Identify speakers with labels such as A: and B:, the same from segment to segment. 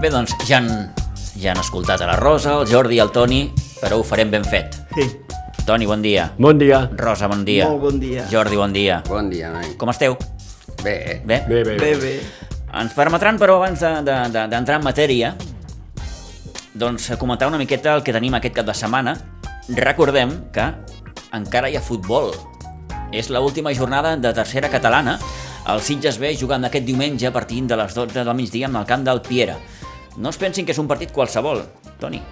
A: Bé, doncs ja han, ja han escoltat a la Rosa, el Jordi i el Toni, però ho farem ben fet.
B: Sí.
A: Toni, bon dia.
B: Bon dia.
A: Rosa, bon dia.
B: Molt bon dia.
A: Jordi, bon dia.
C: Bon dia, noi.
A: Com esteu?
C: Bé,
A: Bé?
B: Bé, bé,
D: Bé,
B: bé.
D: bé.
A: Ens permetran, però, abans de- de- de- d'entrar en matèria, doncs comentar una miqueta el que tenim aquest cap de setmana. Recordem que encara hi ha futbol. És l última jornada de tercera catalana. El Sitges B jugant aquest diumenge partint de les 12 del migdia amb el camp del Piera. No es pensin que és un partit qualsevol, Toni.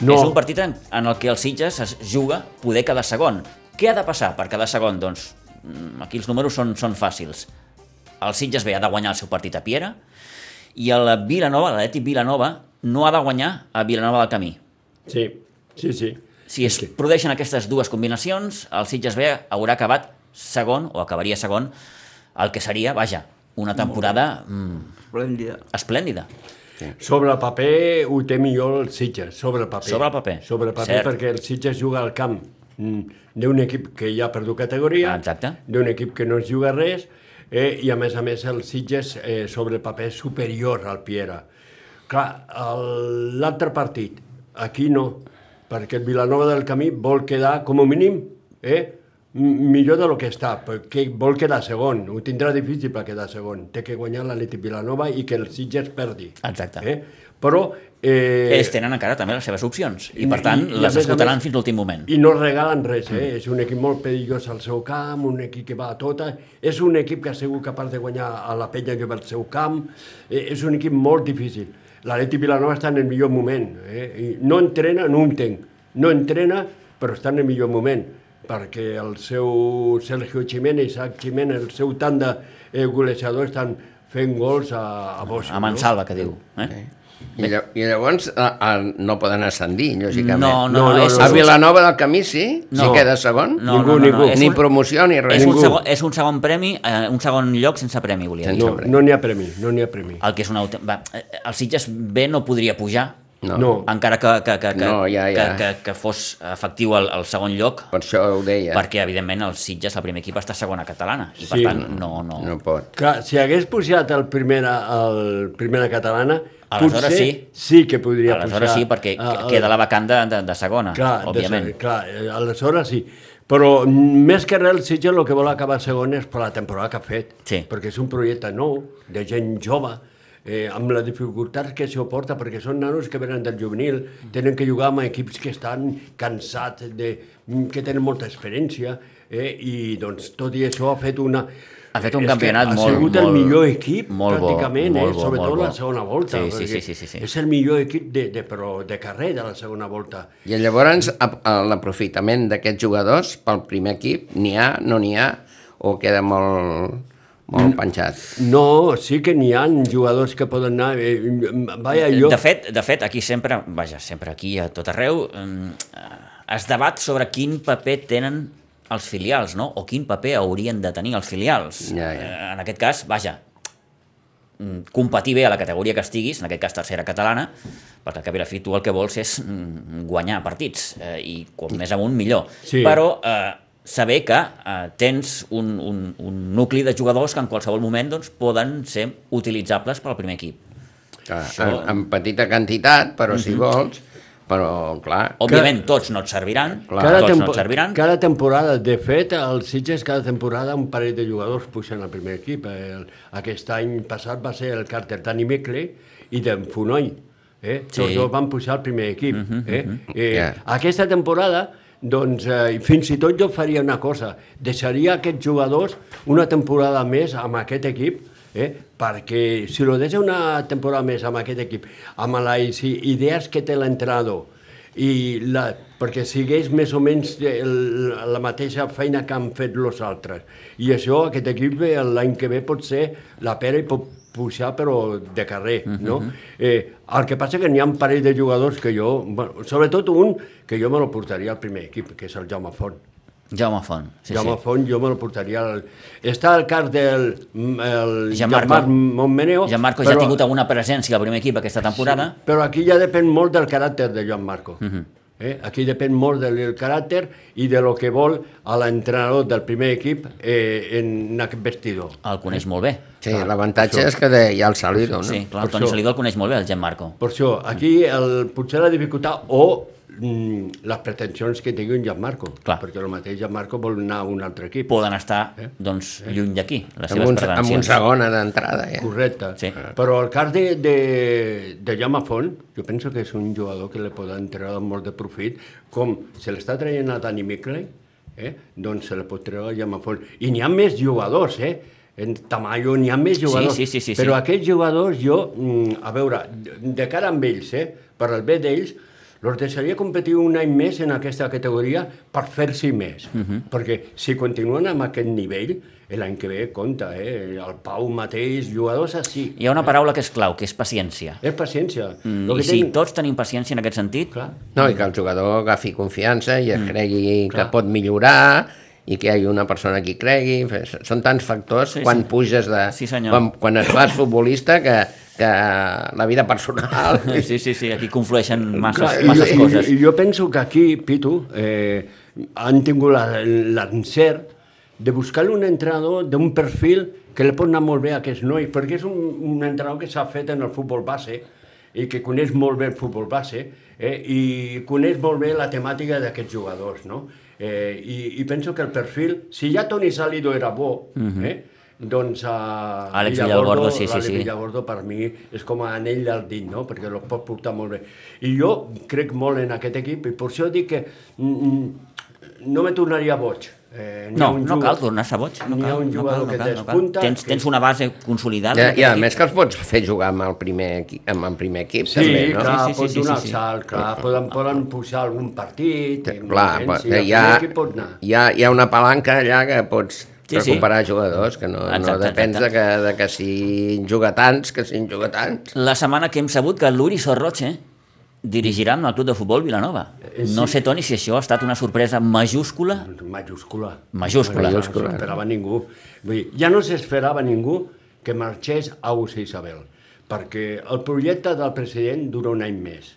B: No.
A: És un partit en, en el que el Sitges es juga poder cada segon. Què ha de passar per cada segon? Doncs mm, aquí els números són, són fàcils. El Sitges B ha de guanyar el seu partit a Piera, i el Vilanova, l'Atlètic Vilanova, no ha de guanyar a Vilanova del Camí.
B: Sí, sí, sí.
A: Si es produeixen aquestes dues combinacions, el Sitges B haurà acabat segon, o acabaria segon, el que seria, vaja, una temporada mm,
D: Bon dia.
A: esplèndida.
B: Sobre el paper ho té millor el Sitges, sobre el paper.
A: Sobre el paper,
B: Sobre el paper
A: cert.
B: perquè el Sitges juga al camp mm, d'un equip que ja ha perdut categoria,
A: Ah, exacte.
B: d'un equip que no es juga res, eh, i a més a més el Sitges eh, sobre el paper és superior al Piera. Clar, el- l'altre partit, aquí no, perquè el Vilanova del Camí vol quedar com a mínim eh, m- millor de lo que està, perquè vol quedar segon, ho tindrà difícil per quedar segon, té que guanyar l'Atlètic Vilanova i que el Sitges perdi.
A: Exacte.
B: Eh? Però... Eh,
A: Ells tenen encara també les seves opcions, i per
B: I-
A: tant
B: i- i a
A: les
B: més a
A: esgotaran
B: més-
A: fins l'últim moment.
B: i no regalen res, eh? És un equip molt perillós al seu camp, un equip que va a tota. És un equip que ha sigut capaç de guanyar a la penya que va al seu camp. Eh, és un equip molt difícil. L'Atleti Vilanova està en el millor moment. Eh? I no entrena, no ho entenc. No entrena, però està en el millor moment perquè el seu Sergio Ximénez, Isaac Ximénez, el seu tant de eh, golejador estan fent gols a, a Bosch.
A: A Mansalva, que diu. Eh?
C: I, lla- i llavors a, a, no poden ascendir, lògicament.
A: No, no,
B: No,
A: no,
B: no,
A: és,
B: no.
C: A Vilanova del Camí sí?
A: No.
C: No. Si queda segon?
A: No,
B: Ningú,
A: no, no, no,
B: ningú.
A: és
C: Ni
A: un-
C: promoció ni res.
A: és un, segon, és un segon premi, eh, un segon lloc sense premi, volia dir.
C: Sense-
B: No no n'hi ha premi, no n'hi ha premi.
A: El que és una... autè- Va, eh, el Sitges B no podria pujar,
C: No.
B: No.
A: encara que, que, que, que,
C: No, ja, ja.
A: que, que, que fos efectiu el, el segon lloc,
C: Per això ho deia.
A: perquè, evidentment, el Sitges, el primer equip, està a segona catalana, i, per
B: Sí.
A: tant, no... no.
C: No pot.
B: Clar, si hagués pujat el primera, el primera catalana,
A: Aleshores sí.
B: sí que podria
A: Aleshores
B: pujar.
A: sí, perquè
B: a-
A: que-
B: a-
A: queda la vacant de, de, de segona,
B: Ah, Clar,
A: òbviament.
B: De, clar, eh, aleshores sí. Però mm, més que res el Sitges el que vol acabar segon és per la temporada que ha fet.
A: Sí.
B: Perquè és un projecte nou, de gent jove, eh, amb les dificultats que s'ho porta, perquè són nanos que venen del juvenil, tenen que jugar amb equips que estan cansats, de, mm, que tenen molta experiència, eh, i doncs tot i això ha fet una...
A: Ha fet un
B: És que
A: campionat
B: ha
A: molt,
B: sigut el
A: molt-
B: millor equip,
A: molt bo,
B: pràcticament,
A: molt
B: eh?
A: bo,
B: sobretot
A: molt bo.
B: la segona volta.
A: Sí, sí,
B: perquè
A: sí, sí, sí, sí.
B: És el millor equip de, de, però de carrer de la segona volta.
C: I llavors a- a l'aprofitament d'aquests jugadors pel primer equip, n'hi ha, no n'hi ha, o queda molt, molt penjat.
B: No, sí que n'hi ha jugadors que poden anar... Eh, vaja, jo...
A: De fet, de fet, aquí sempre, vaja, sempre aquí a tot arreu, mm, eh, es debat sobre quin paper tenen els filials, no? O quin paper haurien de tenir els filials.
C: Ja, ja.
A: Eh, En aquest cas, vaja, mm, competir bé a la categoria que estiguis, en aquest cas tercera catalana, perquè al cap i a la fi tu el que vols és mm, guanyar partits, eh, i com més amunt millor.
B: Sí.
A: Però eh, saber que eh, tens un, un, un nucli de jugadors que en qualsevol moment doncs, poden ser utilitzable pel primer equip.
C: Clar, en, en petita quantitat, però si vols, però clar...
A: Òbviament, tots no et serviran,
C: Clar.
A: tots no
B: tempo-
A: et serviran.
B: cada temporada, de fet, el Sitges cada temporada un parell de jugadors pugen al primer equip. El, aquest any passat va ser el Carter Dani Mecle i d'en Funoi. Eh?
A: Sí. Mhm,
B: Sí. Tots dos van pujar al primer equip. eh? Eh,
C: Ja.
B: Aquesta temporada, doncs, eh, fins i tot jo faria una cosa. Deixaria aquests jugadors una temporada més amb aquest equip Eh? perquè si lo deixa una temporada més amb aquest equip, amb les idees que té l'entrenador, i la, perquè sigués més o menys eh, el, la mateixa feina que han fet els altres. I això, aquest equip, eh, l'any que ve pot ser la pera i pot pujar, però de carrer,
A: Mhm,
B: no? Eh, el que passa que n'hi ha un parell de jugadors que jo... Bueno, sobretot un que jo me lo portaria al primer equip, que és el Jaume Font.
A: Jaume Font. Sí,
B: Sí, Jaume
A: sí.
B: Font jo me lo portaria al... Està al cas del mm, el
A: Gianmarco.
B: Gianmarco Montmeneo...
A: Gianmarco ja ha tingut alguna presència al primer equip aquesta temporada. Mhm.
B: Però aquí ja depèn molt del caràcter de Joan Marco. Uh -huh. Eh? Aquí depèn molt del, del caràcter i de lo que vol a l'entrenador del primer equip eh, en aquest vestidor.
A: El coneix molt bé.
C: Sí, l'avantatge és que de, hi ha el Salido, no?
A: Sí, clar,
B: Per
A: el Toni
B: això.
A: Salido el coneix molt bé, el Gianmarco.
B: Per això, aquí el, potser la dificultat o mm, les pretensions que tingui un Gianmarco,
A: Clar.
B: perquè el mateix Gianmarco vol anar a un altre equip.
A: Poden estar, doncs, lluny d'aquí, les
C: Amb
A: seves
C: un, amb un
A: pretensions.
C: segon d'entrada, eh?
B: Correcte.
A: Sí.
B: Però el cas de, de, de Jaume Font, jo penso que és un jugador que li podrà treure molt de profit, com se l'està traient a Dani Mikley, eh? doncs se li pot treure a Jaume Font. I n'hi ha més jugadors, eh? En Tamayo n'hi ha més jugadors.
A: sí, sí, sí, sí.
B: Però aquests jugadors, jo, mm, a veure, de- de cara amb ells, eh? per al bé d'ells, els deixaria competir un any més en aquesta categoria per fer-s'hi més. Uh
A: Mhm.
B: -huh. Perquè si continuen amb aquest nivell, l'any que ve compta, eh? el Pau mateix, jugadors així.
A: Hi ha una paraula que és clau, que és paciència.
B: És paciència.
A: Mm,
B: Lo
A: I
B: que
A: si
B: tinc-
A: tots tenim paciència en aquest sentit,
B: Clar.
C: No, i que el jugador agafi confiança i es cregui que pot millorar i que hi hagi una persona que hi cregui. Fes- Són tants factors
A: Sí,
C: sí, quan
A: sí.
C: puges de...
A: Sí, senyor.
C: Quan, quan es fas futbolista que, que la vida personal...
A: sí, sí, sí, aquí conflueixen masses,
B: Clar,
A: masses
B: i, jo-
A: coses.
B: I, jo penso que aquí, Pitu, eh, han tingut la- l'encert de buscar un entrenador d'un perfil que li pot anar molt bé a aquests nois, perquè és un, un entrenador que s'ha fet en el futbol base i que coneix molt bé el futbol base eh, i coneix molt bé la temàtica d'aquests jugadors, no? Eh, i, I penso que el perfil, si ja Toni Salido era bo, eh, doncs a
A: Mhm. Àlex Villalgordo, sí, sí, sí.
B: Gordo per mi és com a anell al dit, no? perquè el pot portar molt bé. I jo crec molt en aquest equip i per això dic que mm, mm, no me tornaria boig. Eh, n'hi ha
A: No,
B: un
A: no
B: jugad-
A: cal tornar-se boig. No
B: n'hi ha
A: cal,
B: un
A: no cal,
B: jugador
A: no
B: que
A: cal, no cal.
B: despunta,
A: Tens,
B: que-
A: tens una base consolidada.
C: Ja,
A: en
C: I a
A: aquest
C: més que els pots fer jugar amb el primer equip, amb el primer equip
B: Sí,
C: també, no?
B: clar,
A: Sí, sí,
B: pot
A: sí, sí,
B: donar
A: sí,
B: el
A: sí.
B: salt, clar, poden, poden pujar algun partit, en un
C: Clar,
B: moment,
C: pot,
B: sí, el
C: hi, ha,
B: primer equip pot anar.
C: hi, ha, hi ha una palanca allà que pots
A: Sí, sí.
C: sí, recuperar sí. jugadors, que no, no
A: Exacte,
C: depèn de
A: exacte.
C: que, de que si en juga tants, que si en juga tants.
A: La setmana que hem sabut que l'Uri Sorroche dirigirà amb el club de futbol Vilanova.
B: Eh, sí.
A: No sé, Toni, si això ha estat una sorpresa majúscula.
B: Majúscula.
A: Majúscula.
C: Majúscula.
B: No s'esperava ningú. Vull dir, ja no s'esperava ningú que marxés a Usa Isabel, perquè el projecte del president dura un any més.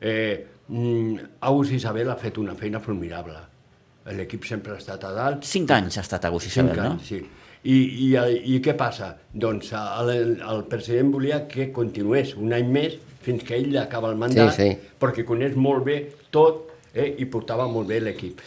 B: Eh, mm, Aus Isabel ha fet una feina formidable. L'equip sempre ha estat a dalt,
A: Cinc anys ha estat a Gos Isabel,
B: Cinc
A: no?
B: anys, sí. I, i, I què passa? Doncs el, el president volia que continués un any més fins que ell acaba el mandat,
C: Sí, sí.
B: perquè coneix molt bé tot eh, i portava molt bé l'equip.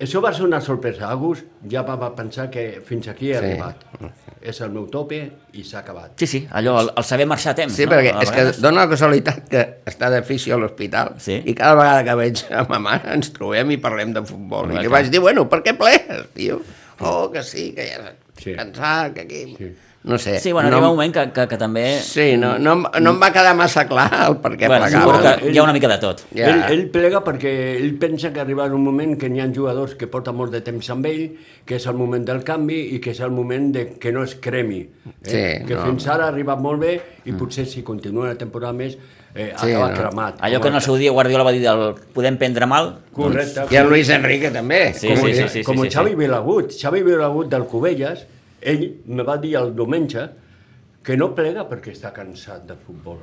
B: Això va ser una sorpresa. Agus ja va, va pensar que fins aquí he
C: Sí.
B: arribat. És el meu tope i s'ha acabat.
A: Sí, sí, allò, el, el saber marxar a temps.
C: Sí,
A: no?
C: perquè
A: A
C: és que
A: vegades.
C: dona la casualitat que està de fisio a l'hospital
A: Sí.
C: i cada vegada que veig a ma mare ens trobem i parlem de futbol.
A: Clar,
C: I li
A: clar.
C: vaig dir, bueno, per què plegues, tio? Oh, que sí, que ja
B: Sí.
C: sí. cansat, que aquí...
B: Sí.
C: No sé.
A: Sí, bueno,
C: no,
A: arriba un moment que, que, que també...
C: Sí, no, no, em- no em va quedar massa clar el per què
A: Bueno,
C: plegava.
A: suposo que hi ha una mica de tot.
C: Ja.
B: Ell, ell plega perquè ell pensa que arribarà un moment que n'hi ha jugadors que porta molt de temps amb ell, que és el moment del canvi i que és el moment de que no es cremi. Eh?
C: Sí,
B: que
C: no.
B: fins ara ha arribat molt bé i potser si continua una temporada més eh,
C: Sí,
B: acaba
C: no.
B: cremat.
A: Allò que en el seu dia Guardiola va dir del podem prendre mal,
B: Correcte.
C: I el Luis Enrique també.
A: Sí, sí, sí, sí.
B: com el Xavi Vilagut. Xavi Vilagut del Cubelles, ell me va dir el diumenge que no plega perquè està cansat de futbol.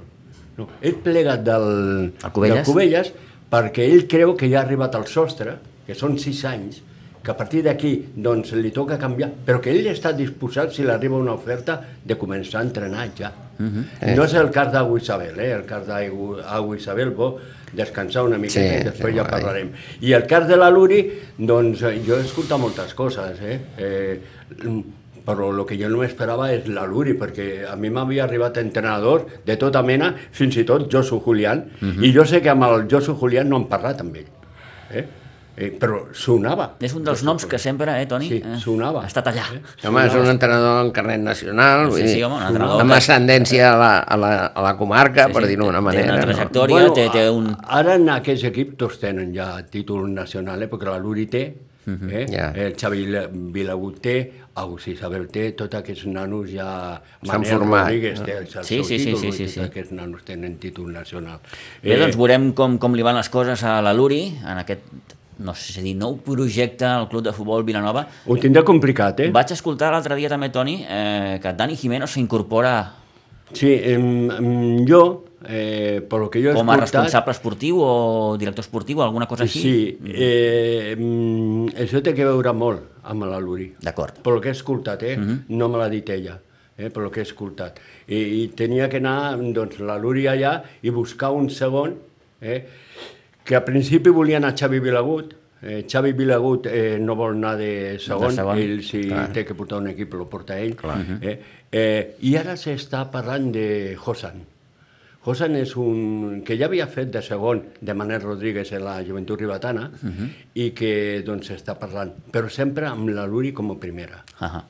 B: No, ell plega del,
A: Al Cubelles?
B: del Cubelles perquè ell creu que ja ha arribat al sostre, que són sis anys, que a partir d'aquí doncs, li toca canviar, però que ell està disposat, si li arriba una oferta, de començar a entrenar ja.
A: Mhm.
B: No és el cas d'Agu Isabel, eh? el cas d'Agu Isabel vol descansar una mica,
C: Sí,
B: i després
C: sí,
B: ja
C: ai.
B: parlarem parlarem. I el cas de la Luri, doncs eh, jo he escoltat moltes coses, eh? eh però el que jo no m'esperava és la Luri, perquè a mi m'havia arribat entrenadors de tota mena, fins i tot Josu Julián,
C: Mhm.
B: i jo sé que amb el Josu Julián no han parlat amb ell, eh? Eh, però sonava.
A: és un dels noms que sempre, eh, Toni?
B: Sí,
A: Eh,
B: sonava.
A: Ha estat allà.
C: Home, és un entrenador en carnet nacional, vull
A: Sí, sí,
C: dir,
A: home, un entrenador
C: amb
A: que-
C: ascendència a la, a la, a la comarca,
A: Sí,
C: per
A: sí,
C: dir-ho d'una
A: té- té
C: manera.
A: una
C: no?
A: trajectòria. Victòria té- té un-
B: Ara en aquest equip tots tenen ja títol nacional, eh? perquè la Luri té,
A: Mhm.
B: eh?
C: ja.
B: el Xavi Vila- Vilagut té, Agus Isabel té, tots aquests nanos ja...
C: S'han
B: Manel
C: format,
B: Rodríguez té el seu
A: Sí, sí, sí,
B: títol,
A: sí,
B: vull
A: sí,
B: dir,
A: sí.
B: tots aquests nanos tenen Eh, títol nacional.
A: Bé, doncs veurem com, com li van les coses a la Luri, en aquest, no sé si dir, nou projecte al Club de Futbol Vilanova.
B: Ho tindrà complicat, eh?
A: Vaig escoltar l'altre dia també, Toni, eh, que Dani Jimeno s'incorpora
B: Sí, em, em, jo, eh, per lo que jo he
A: Com a
B: escoltat...
A: responsable esportiu o director esportiu o alguna cosa així?
B: Sí, eh, mm, això té que veure molt amb l'aluri.
A: D'acord.
B: Per lo que he escoltat, eh? No me l'ha dit ella, eh? Per lo que he escoltat. I, i tenia que anar, doncs, la Lúria allà i buscar un segon, eh? Que al principi volien a Xavi Vilagut, eh, Xavi Vilagut eh, no vol anar de segon,
A: segon,
B: ell si Clar. té que portar un equip, lo porta ell. Eh? Eh, I ara s'està parlant de Hosan. Josan és un... que ja havia fet de segon de Manel Rodríguez en la Joventut Ribatana uh -huh. i que doncs està parlant, però sempre amb la Luri com a primera.
A: Ahà.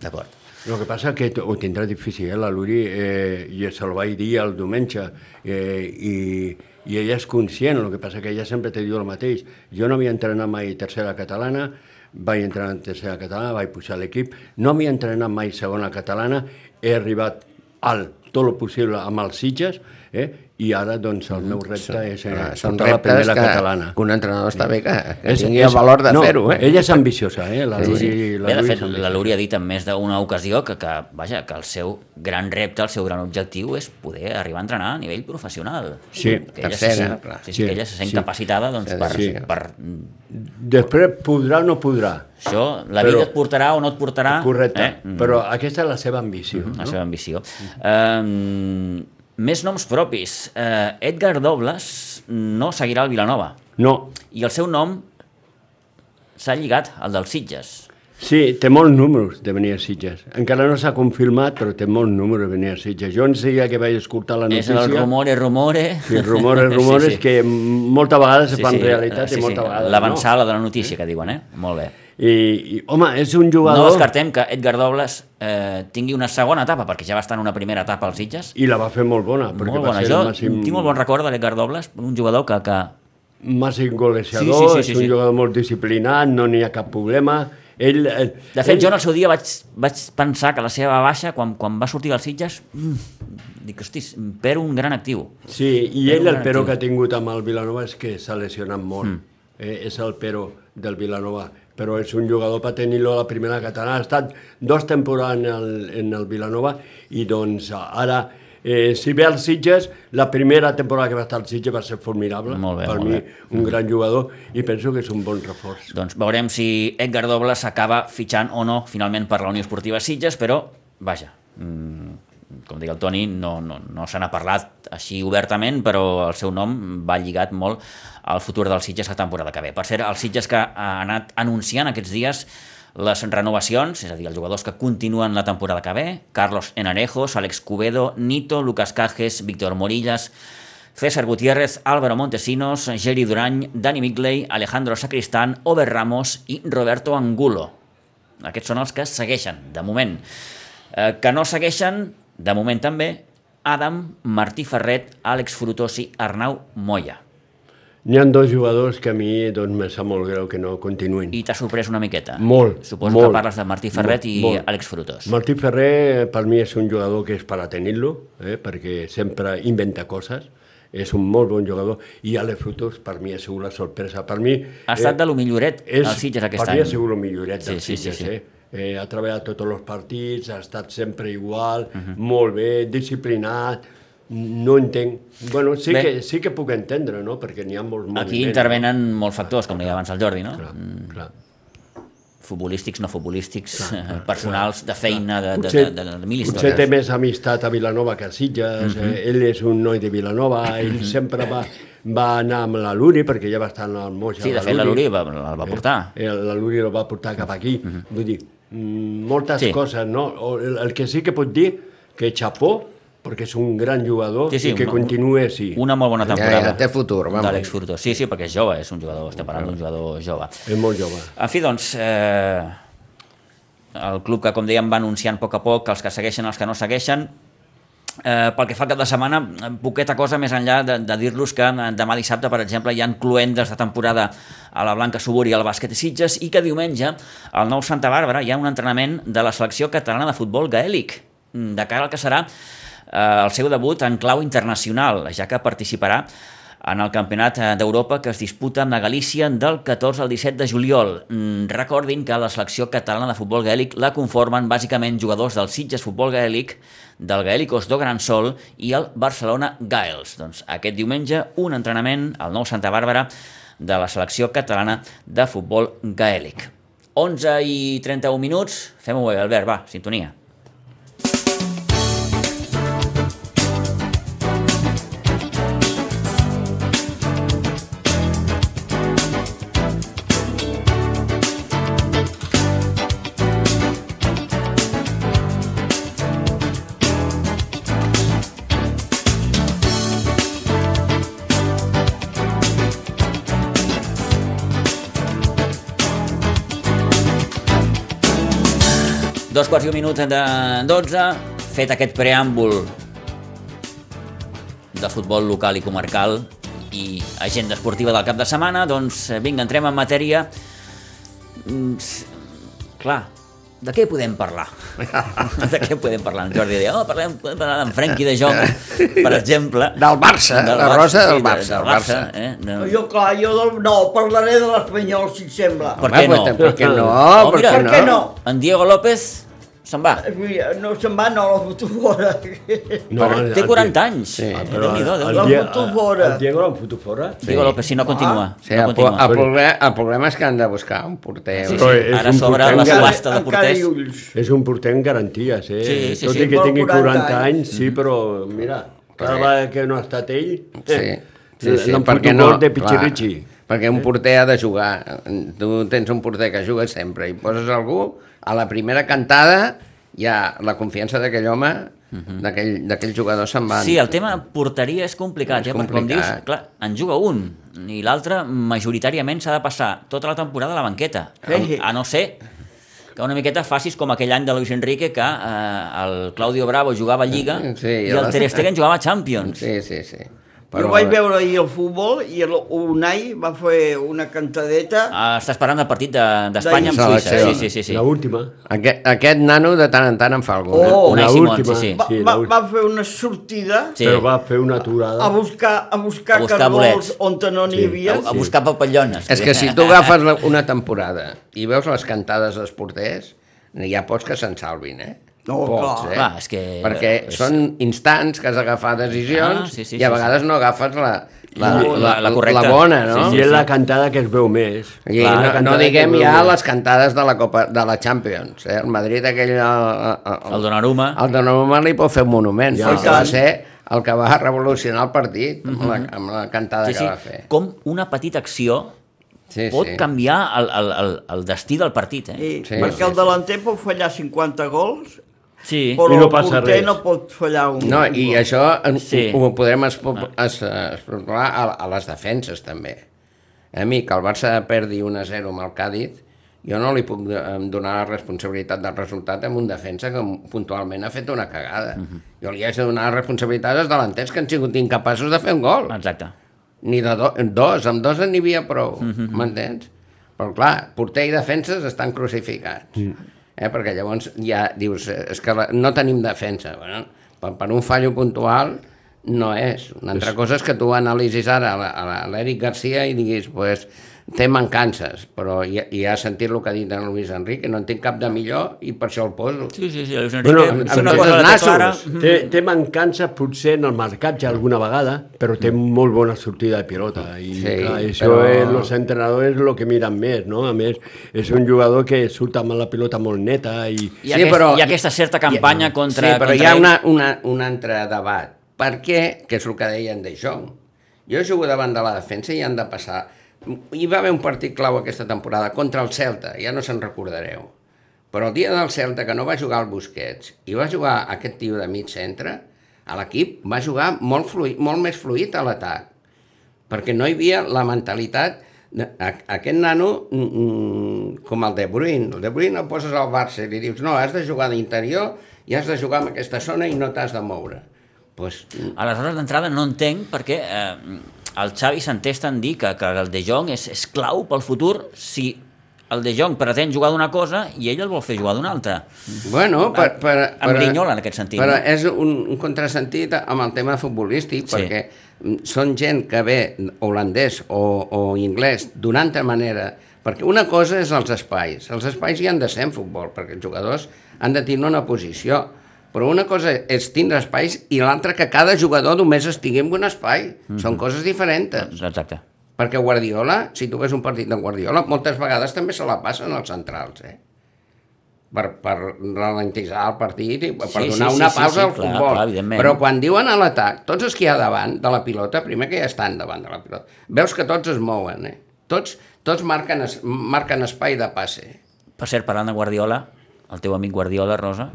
A: D'acord.
B: El que passa que t- ho tindrà difícil, eh, la Luri, eh, i se lo vaig dir el diumenge, eh, i, i ella és conscient, el que passa que ella sempre te diu el mateix. Jo no havia entrenat mai tercera catalana, vaig entrenar en tercera catalana, vaig pujar a l'equip, no havia entrenat mai segona catalana, he arribat al tot el possible amb els Sitges, eh? i ara doncs el meu repte és eh,
C: Ah, Mm, són
B: portar la
C: reptes
B: primera
C: que,
B: catalana.
C: que un entrenador està bé que, que tingui el valor de
B: no,
C: fer-ho, eh?
B: Ella és ambiciosa, eh? La Luri, la
A: Bé, de
B: Luri
A: fet,
B: és ambiciosa.
A: la Luri ha dit en més d'una ocasió que, que, vaja, que el seu gran repte, el seu gran objectiu és poder arribar a entrenar a nivell professional.
B: Sí,
A: que ella
C: tercera,
A: se sent,
C: clar.
A: sí, sí, que ella se sent sí. capacitada doncs,
C: Sí,
A: per, sí.
C: sí.
A: per...
B: Després podrà o no podrà,
A: Això, la
B: Però-
A: vida et portarà o no et portarà...
B: correcte,
A: Eh? Mm, Mm-hmm.
B: però aquesta és la seva ambició.
A: La seva ambició. Um, més noms propis. Uh, Edgar Dobles no seguirà el Vilanova.
B: No,
A: I el seu nom s'ha lligat al dels Sitges.
B: sí, té molts números de venir a Sitges. Encara no s'ha confirmat, però té molts números de venir a Sitges. Jo en seguida que vaig escoltar la
A: És
B: notícia...
A: el rumore, rumore...
B: Sí, rumores, rumores sí, sí. que molta vegada se
A: Sí,
B: sí, fan
A: sí,
B: sí, realitat
A: sí,
B: i molta
A: sí,
B: vegada no.
A: L'avançada de la notícia que diuen, eh? Molt bé.
B: I, i, home, és un
A: No
B: jugador...
A: descartem que Edgar Dobles eh, tingui una segona etapa, perquè ja va estar en una primera etapa als Sitges.
B: I la va fer molt bona, perquè
A: Molt
B: va
A: bona.
B: ser
A: Jo
B: el màxim,
A: tinc molt bon record de l'Edgar Dobles, un jugador que... que...
B: màxim
A: Sí,
B: golejador,
A: sí, sí, sí,
B: és un
A: sí.
B: jugador molt disciplinat, no n'hi ha cap problema. Ell, eh,
A: De fet,
B: ell,
A: jo en el seu dia vaig, vaig pensar que la seva baixa, quan, quan va sortir dels Sitges, mm, dic, hosti, per un gran actiu.
B: Sí, i
A: Era
B: ell
A: un
B: el però
A: actiu.
B: que ha tingut amb el Vilanova és que s'ha lesionat molt. Mm. Eh, és el però del Vilanova, però és un jugador per tenir-lo a la primera catalana. Ha estat dos temporades en el, en el Vilanova i doncs ara Eh, si ve al Sitges, la primera temporada que va estar al Sitges va ser formidable,
A: Molt bé,
B: per
A: molt
B: mi
A: bé. Mm.
B: un gran jugador, i penso que és un bon reforç.
A: Doncs veurem si Edgar Dobles acaba fitxant o no finalment per la Unió Esportiva Sitges, però vaja, mm, com deia el Toni, no, no, no se n'ha parlat així obertament, però el seu nom va lligat molt al futur del Sitges la temporada que ve. Per cert, el Sitges que ha anat anunciant aquests dies les renovacions, és a dir, els jugadors que continuen la temporada que ve, Carlos Enarejos, Alex Cubedo, Nito, Lucas Cajes, Víctor Morillas, César Gutiérrez, Álvaro Montesinos, Jerry Durany, Dani Migley, Alejandro Sacristán, Over Ramos i Roberto Angulo. Aquests són els que segueixen, de moment. Eh, que no segueixen, de moment també, Adam, Martí Ferret, Àlex Frutosi, Arnau Moya.
B: N'hi han dos jugadors que a mi doncs, me sap molt greu que no continuïn.
A: I t'ha sorprès una miqueta.
B: Molt,
A: Suposo
B: molt.
A: que parles de Martí Ferret i
B: Molt, molt.
A: Àlex Frutos.
B: Martí Ferrer eh, per mi és un jugador que és per a tenir-lo, eh, perquè sempre inventa coses, és un molt bon jugador, i Ale Frutos per mi ha sigut la sorpresa. Per mi,
A: Ha estat de lo milloret
B: eh, és,
A: als Sitges aquest
B: per mi
A: any.
B: ha sigut el milloret
A: Sí,
B: dels
A: sí,
B: sí,
A: sí,
B: Sitges,
A: sí.
B: eh? Eh, ha treballat tots els partits, ha estat sempre igual,
A: Mhm.
B: molt bé, disciplinat, no entenc... Bueno, sí,
A: Bé.
B: que, sí que puc entendre, no?, perquè n'hi ha molts moviments.
A: Aquí intervenen molts factors, com deia abans el Jordi, no?
B: Clar, clar.
A: futbolístics, no futbolístics, eh, personals, de feina, de, de,
B: Potser-
A: de, de, de mil
B: Potser té
A: històries. Mhm.
B: més amistat a Vilanova que a Sitges, eh, ell és un noi de Vilanova, ell sempre va, va anar amb la Luri, perquè ja va estar en el Moix.
A: Sí, de fet, la Luri va, el va portar.
B: Eh,
A: Mhm.
B: La Luri el va portar cap aquí. Vull dir, mm, moltes
A: Sí.
B: coses, no? O el, el que sí que pot dir, que xapó, perquè és un gran jugador
A: Sí, sí,
B: i que
A: una-
B: continua així.
A: Una molt bona
C: Ja,
A: temporada
C: ja, té futur,
A: d'Àlex
C: vamos.
A: Furtó. Sí, sí, perquè és jove, és un jugador, estem parlant d'un jugador jove.
B: És molt jove.
A: En fi, doncs, eh, el club que, com dèiem, va anunciant a poc a poc els que segueixen, els que no segueixen, Eh, pel que fa al cap de setmana, eh, poqueta cosa més enllà de, de dir-los que eh, demà dissabte, per exemple, hi ha cluendes de temporada a la Blanca Subur i al bàsquet Sitges i que diumenge, al nou Santa Bàrbara, hi ha un entrenament de la selecció catalana de futbol gaèlic, mm, de cara al que serà eh, el seu debut en clau internacional, ja que participarà en el Campionat eh, d'Europa que es disputa amb la Galícia del 14 al 17 de juliol. Mm, Recordin que la selecció catalana de futbol gaèlic la conformen bàsicament jugadors del Sitges Futbol Gaèlic, del Gaèlicos do Gran Sol i el Barcelona Gaels. Doncs aquest diumenge un entrenament al nou Santa Bàrbara de la selecció catalana de futbol gaèlic. 11 i 31 minuts, fem-ho bé, Albert, va, sintonia. Dos quarts i un minut de 12, fet aquest preàmbul de futbol local i comarcal i agenda esportiva del cap de setmana, doncs eh, vinga, entrem en matèria. Mm, s- Clar, de què podem parlar? de què podem parlar? En Jordi deia, oh, parlem, podem parlar d'en Frenkie de Jong, per exemple.
C: Del Barça, la
A: Barça,
C: Rosa
A: sí,
C: del
A: de-
C: Barça,
A: Del
C: el
A: Barça,
C: Barça.
A: eh?
D: No,
A: No.
D: Jo, clar, jo del... no, parlaré de l'Espanyol, si et sembla.
A: Per
C: Home,
A: què no?
C: pues, Per què no?
A: Oh,
C: per,
A: mira,
C: què
D: per
C: no?
D: què no?
A: En Diego López se'n va.
D: Vull dir, No se'n va, no, la foto fora.
B: No, el-
A: Té
B: el-
A: 40 anys.
C: Sí.
A: Ah, però,
B: Però el,
A: Déu-n'hi-do,
B: el,
A: Déu-n'hi-do.
B: el,
D: L'han
B: Diego-
D: fotut
B: el,
D: fora.
B: el Diego l'han fotut fora?
A: Diego López, si no continua.
C: Ah, Sí,
A: no
C: el, pro-
A: continua.
C: el, problema, el problema és que han de buscar un porter.
A: Sí,
B: Però
A: sí.
B: és
A: Ara
B: un
A: s'obre
B: porter
A: la
B: encara-
A: subhasta de
D: encara hi
A: porters.
D: ulls.
B: És un porter amb garanties, eh?
A: Sí, sí,
B: Tot
A: sí.
B: i que
D: Vol
B: tingui
D: 40
B: 40
D: anys.
B: anys, sí, però mira, cada
C: Mm. Sí.
B: vegada que no ha estat ell, eh,
C: Sí, sí, sí
B: l'han
C: perquè
B: fotut
C: no,
B: gol de
C: clar,
B: pitxirritxi.
C: perquè un porter ha de jugar. Tu tens un porter que juga sempre i poses algú, a la primera cantada hi ha la confiança d'aquell home, d'aquell d'aquell jugador se'n va.
A: Sí, el tema porteria és complicat,
C: És
A: ja, perquè com dius,
C: complicat.
A: clar, en juga un i l'altre majoritàriament s'ha de passar tota la temporada a la banqueta, a,
D: Sí.
A: a no ser que una miqueta facis com aquell any de Luis Enrique que eh, el Claudio Bravo jugava a Lliga
C: Sí,
A: i el Ter Stegen jugava a Champions.
C: Sí, sí, sí.
D: Però... Jo vaig veure ahir el futbol i el Unai va fer una cantadeta. Ah.
A: Ah, Està esperant el partit de- d'Espanya amb
C: D'ahir.
A: Suïssa. Sí, sí, sí. sí.
B: La última.
C: Aquest, aquest nano de tant en tant en fa algun.
D: Oh.
A: Unai
B: la
A: Simón,
B: última.
A: sí, sí.
D: Va,
B: Sí,
D: va,
B: la última.
D: va Ah, fer una sortida
A: Sí.
D: sí.
B: Però va fer una aturada.
D: a buscar,
A: A
D: a buscar, a
A: buscar
D: buscar cargols
A: bolets.
D: on no n'hi
B: Sí.
D: havia.
A: A, a buscar Eh, papallones.
C: És que si tu agafes la- una temporada i veus les cantades dels porters, hi ha pocs que se'n salvin, eh?
D: No, Oh, clar.
A: Clar, és que-
C: Perquè
A: és-
C: són instants que has d'agafar decisions
A: Ah, sí, sí,
C: i a
A: sí,
C: vegades no agafes la, la,
A: No,
C: la,
A: la-
C: la,
A: la correcta.
C: bona, no?
B: I
A: Sí,
B: és
A: sí.
B: la cantada que es veu més.
C: I
B: Clar, la
C: no, no
B: cantada que
C: diguem
B: es veu
C: ja
B: més.
C: les cantades de la Copa de la Champions, eh? El Madrid aquell... El, el,
A: El Donnarumma.
C: el Donnarumma li pot fer un monument,
B: Ja.
C: ja, perquè va
D: Sí.
C: ser el que va revolucionar el partit amb la, amb la cantada
A: Mhm. sí,
C: que
A: sí.
C: va fer.
A: Com una petita acció
C: Sí,
A: pot
C: sí.
A: canviar el, el, el, el destí del partit, eh?
D: Sí,
C: Sí,
D: sí, perquè
C: sí,
D: el delanter pot fallar 50 gols,
A: Sí.
D: però
B: I no
D: el
B: passa
D: porter
B: res.
D: no pot fallar un
C: No,
D: un
C: i
D: gol.
C: això en-
A: Sí.
C: ho ho podrem espo- es- especular a, a les defenses, també. A mi, que el Barça perdi 1-0 amb el Càdiz, jo no li puc eh, donar la responsabilitat del resultat amb un defensa que puntualment ha fet una cagada. Jo li haig de donar la responsabilitat als delanters que han sigut incapaços de fer un gol.
A: Exacte.
C: Ni de do, dos, amb dos n'hi havia prou, m'entens? Però clar, porter i defenses estan crucificats. Eh? Perquè llavors ja dius, eh, és que la, no tenim defensa. Bueno, per, per un fallo puntual no és. Una altra cosa és que tu analisis ara a la- a la- a l'Eric Garcia i diguis, pues, té mancances, però ja, ja has sentit el que ha dit en Luis Enrique, no en tinc cap de millor i per això el poso.
A: Sí, sí, sí, Luis Enrique,
B: Bueno,
A: bueno,
B: amb-
A: fer una
B: amb
A: cosa
C: tots
A: la
C: els
A: té
C: nassos.
A: clara...
B: Té, té mancança potser en el marcatge alguna vegada, però té molt bona sortida de pilota. I
C: Sí,
B: sí, clar, això
C: però-
B: però... és, los entrenadores lo que miren més, no? A més, és un jugador que surt amb la pilota molt neta i...
A: I, sí, aquest, però, i aquesta certa campanya ja, contra...
C: Sí, però
A: contra
C: hi ha
A: ell.
C: una, una, un altre debat. Per què? Que és el que deien de Jong. Jo jugo davant de la defensa i han de passar... Hi va haver un partit clau aquesta temporada contra el Celta, ja no se'n recordareu. Però el dia del Celta, que no va jugar al Busquets i va jugar aquest tio de mig centre, a l'equip va jugar molt, fluid, molt més fluid a l'atac perquè no hi havia la mentalitat de- a- aquest nano mm, mm, com el De Bruyne, el De Bruyne el poses al Barça i li dius no, has de jugar d'interior i has de jugar en aquesta zona i no t'has de moure pues, mm,
A: Aleshores, d'entrada, no entenc perquè eh, el Xavi s'entesta en dir que, que el De Jong és, és clau pel futur si el De Jong pretén jugar d'una cosa i ell el vol fer jugar d'una altra.
C: Bueno, per, per,
A: Em
C: per,
A: grinyola en aquest sentit,
C: Però
A: no?
C: és un, un contrasentit amb el tema futbolístic,
A: Sí.
C: sí. perquè mm, són gent que ve holandès o, o anglès d'una altra manera, perquè una cosa és els espais. Els espais hi han de ser en futbol, perquè els jugadors han de tindre una posició. Però una cosa és tindre espais i l'altra que cada jugador només estigui en un espai. Mm -hmm. Són coses diferents.
A: Exacte.
C: Perquè Guardiola, si tu ves un partit de Guardiola, moltes vegades també se la passen als centrals, eh? Per, per ralentitzar el partit i per
A: Sí,
C: sí, donar
A: sí,
C: una
A: sí, sí,
C: pausa
A: sí, clar,
C: al futbol.
A: clar, evidentment.
C: Però quan diuen a l'atac, tots els que hi ha davant de la pilota, primer que ja estan davant de la pilota, veus que tots es mouen, eh? Tots, tots marquen, es, marquen espai de passe.
A: Per cert, parlant de Guardiola, el teu amic Guardiola, Rosa,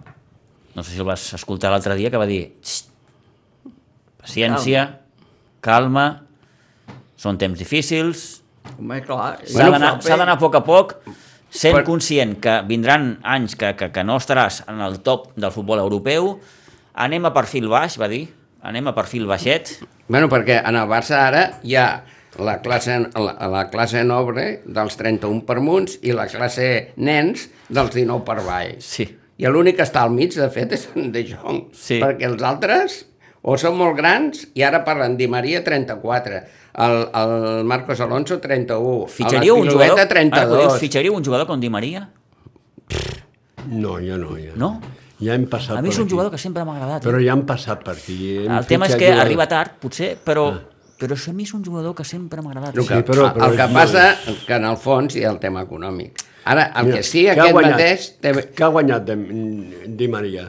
A: no sé si el vas escoltar l'altre dia, que va dir "Xt, paciència, calma, són temps difícils,
D: Home, clar.
A: s'ha d'anar
D: Fer-
A: s'ha d'anar a poc a poc, sent
C: Per-
A: conscient que vindran anys que, que, que no estaràs en el top del futbol europeu, anem a perfil baix, va dir, anem a perfil baixet,
C: Bueno, perquè en el Barça ara hi ha la classe, la, la classe nobre dels 31 per munts i la classe nens dels 19 per baix.
A: sí,
C: I l'únic que està al mig, de fet, és en De Jong.
A: Sí.
C: Perquè els altres o són molt grans, i ara parlen Di Maria 34, el, el Marcos Alonso 31,
A: fitxaríeu
C: el
A: un jugador... Ah, Ara
C: Espiruleta
A: que ho
C: 32.
A: dius, fitxaríeu un jugador com Di Maria?
B: No, jo no. Ja.
A: No?
B: Ja hem passat
A: A mi és
B: per
A: un
B: aquí.
A: jugador que sempre m'ha agradat. eh?
B: Però ja hem passat per aquí. Hem
A: El tema és
B: fitxat
A: que
B: jugadors.
A: arriba tard, potser, però, però això a mi és un jugador que sempre m'ha agradat.
C: El que,
B: Sí, però-
C: però,
B: però
C: el que
B: és
C: passa que en el fons hi ha el tema econòmic. Ara, el que sí,
B: ha
C: aquest
B: guanyat?
C: mateix... Té...
B: Què ha guanyat de, Di Maria?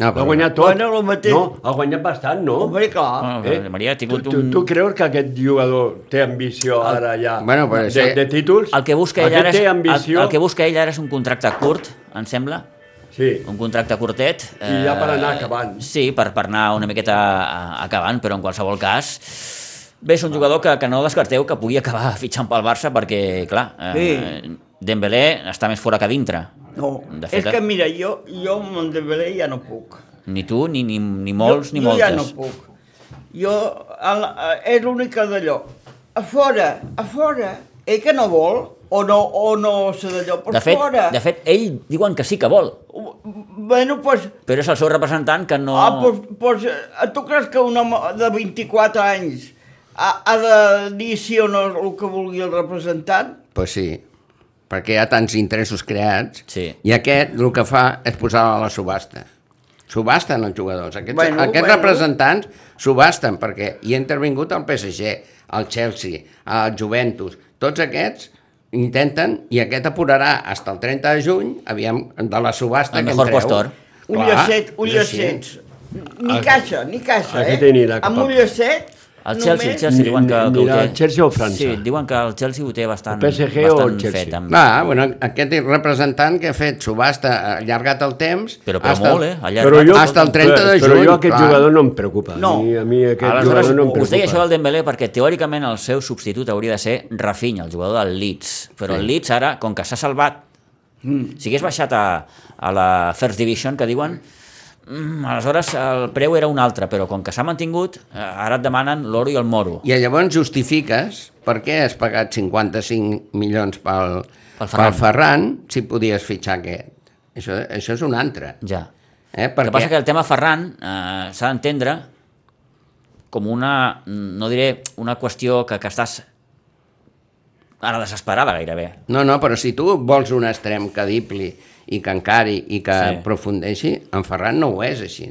C: Ah,
B: ha
C: però-
B: guanyat tot.
D: Bueno, el mateix.
B: No, ha guanyat bastant, no?
D: Home, clar.
B: Ah,
A: Bueno, eh? Maria ha tingut
B: tu, tu,
A: un...
B: tu creus que aquest jugador té ambició ara ja
C: Bueno, però
B: de,
C: sí.
B: de títols?
A: El que busca ell
B: aquest
A: ara és,
B: té
A: el,
B: ambició,
A: el que busca ell ara és un contracte curt, em sembla,
B: Sí,
A: un contracte curtet. eh,
B: i ja per anar acabant.
A: Sí, per, per anar una miqueta a- acabant, però en qualsevol cas... Bé, és un jugador que, que no descarteu que pugui acabar fitxant pel Barça perquè, clar, eh, Dembélé està més fora que dintre.
D: No.
A: De fet, eh?
D: És que, mira, jo, jo amb el Dembélé ja no puc.
A: Ni tu, ni, ni, ni molts,
D: jo,
A: ni
D: jo
A: moltes.
D: ja no puc. Jo, a la, a, és l'única d'allò. A fora, a fora. Eh que no vol? O no, o no sé d'allò, per
A: de, fet,
D: fora.
A: de fet, ell diuen que sí que vol,
D: Bueno, doncs... Pues,
A: però és el seu representant que no...
D: Ah, doncs, doncs, eh, tu creus que un home de 24 anys ha, ha de dir sí o no el que vulgui el representant?
C: Pues sí, perquè hi ha tants interessos creats
A: Sí.
C: i aquest el que fa és posar a la subhasta. Subhasten els jugadors. Aquests,
D: Bueno,
C: bueno, aquests
D: bueno.
C: bueno. representants subhasten perquè hi ha intervingut el PSG, el Chelsea, el Juventus. Tots aquests intenten i aquest apurarà fins al 30 de juny aviam, de la subhasta
A: El
C: que en
A: mejor
C: treu.
A: postor.
D: Un
C: Clar,
D: llacet, un
C: és així.
D: llacet. Ni caixa, ni caixa,
B: aquest
D: eh?
B: anirà cap
D: Amb
B: a-
D: un llacet,
A: El Chelsea, el Chelsea
B: Ni-
A: diuen que, que ho
B: anirà
A: té.
B: al Chelsea o França.
A: Sí, diuen que el Chelsea ho té bastant,
B: O PSG o
A: bastant
B: Chelsea.
A: fet. Amb...
C: Clar, bueno, aquest representant que ha fet subhasta, ha allargat el temps...
A: Però, però
C: hasta-
A: molt, eh? Allà,
B: Però jo,
C: Hasta el 30 de
B: però
C: juny,
B: jo aquest
C: clar.
B: jugador no em preocupa.
D: No.
B: A mi, a mi aquest
A: Aleshores,
B: jugador no em preocupa.
A: us deia això del Dembélé perquè teòricament el seu substitut hauria de ser Rafinha, el jugador del Leeds. Però el Leeds ara, com que s'ha salvat, mm. si hagués baixat a, a la First Division, que diuen, mm, aleshores el preu era un altre, però com que s'ha mantingut, eh, ara et demanen l'oro i el moro.
C: I llavors justifiques per què has pagat 55 milions pel,
A: Pel Ferran.
C: pel, Ferran. pel Ferran si podies fitxar aquest. Això, això és un altre.
A: Ja.
C: Eh?
A: El que passa
C: Perquè
A: que el tema Ferran eh, s'ha d'entendre com una, no diré, una qüestió que, que estàs ara desesperada gairebé.
C: No, no, però si tu vols un extrem que dipli i que encari i que
A: Sí.
C: sí. aprofundeixi, en Ferran no ho és així.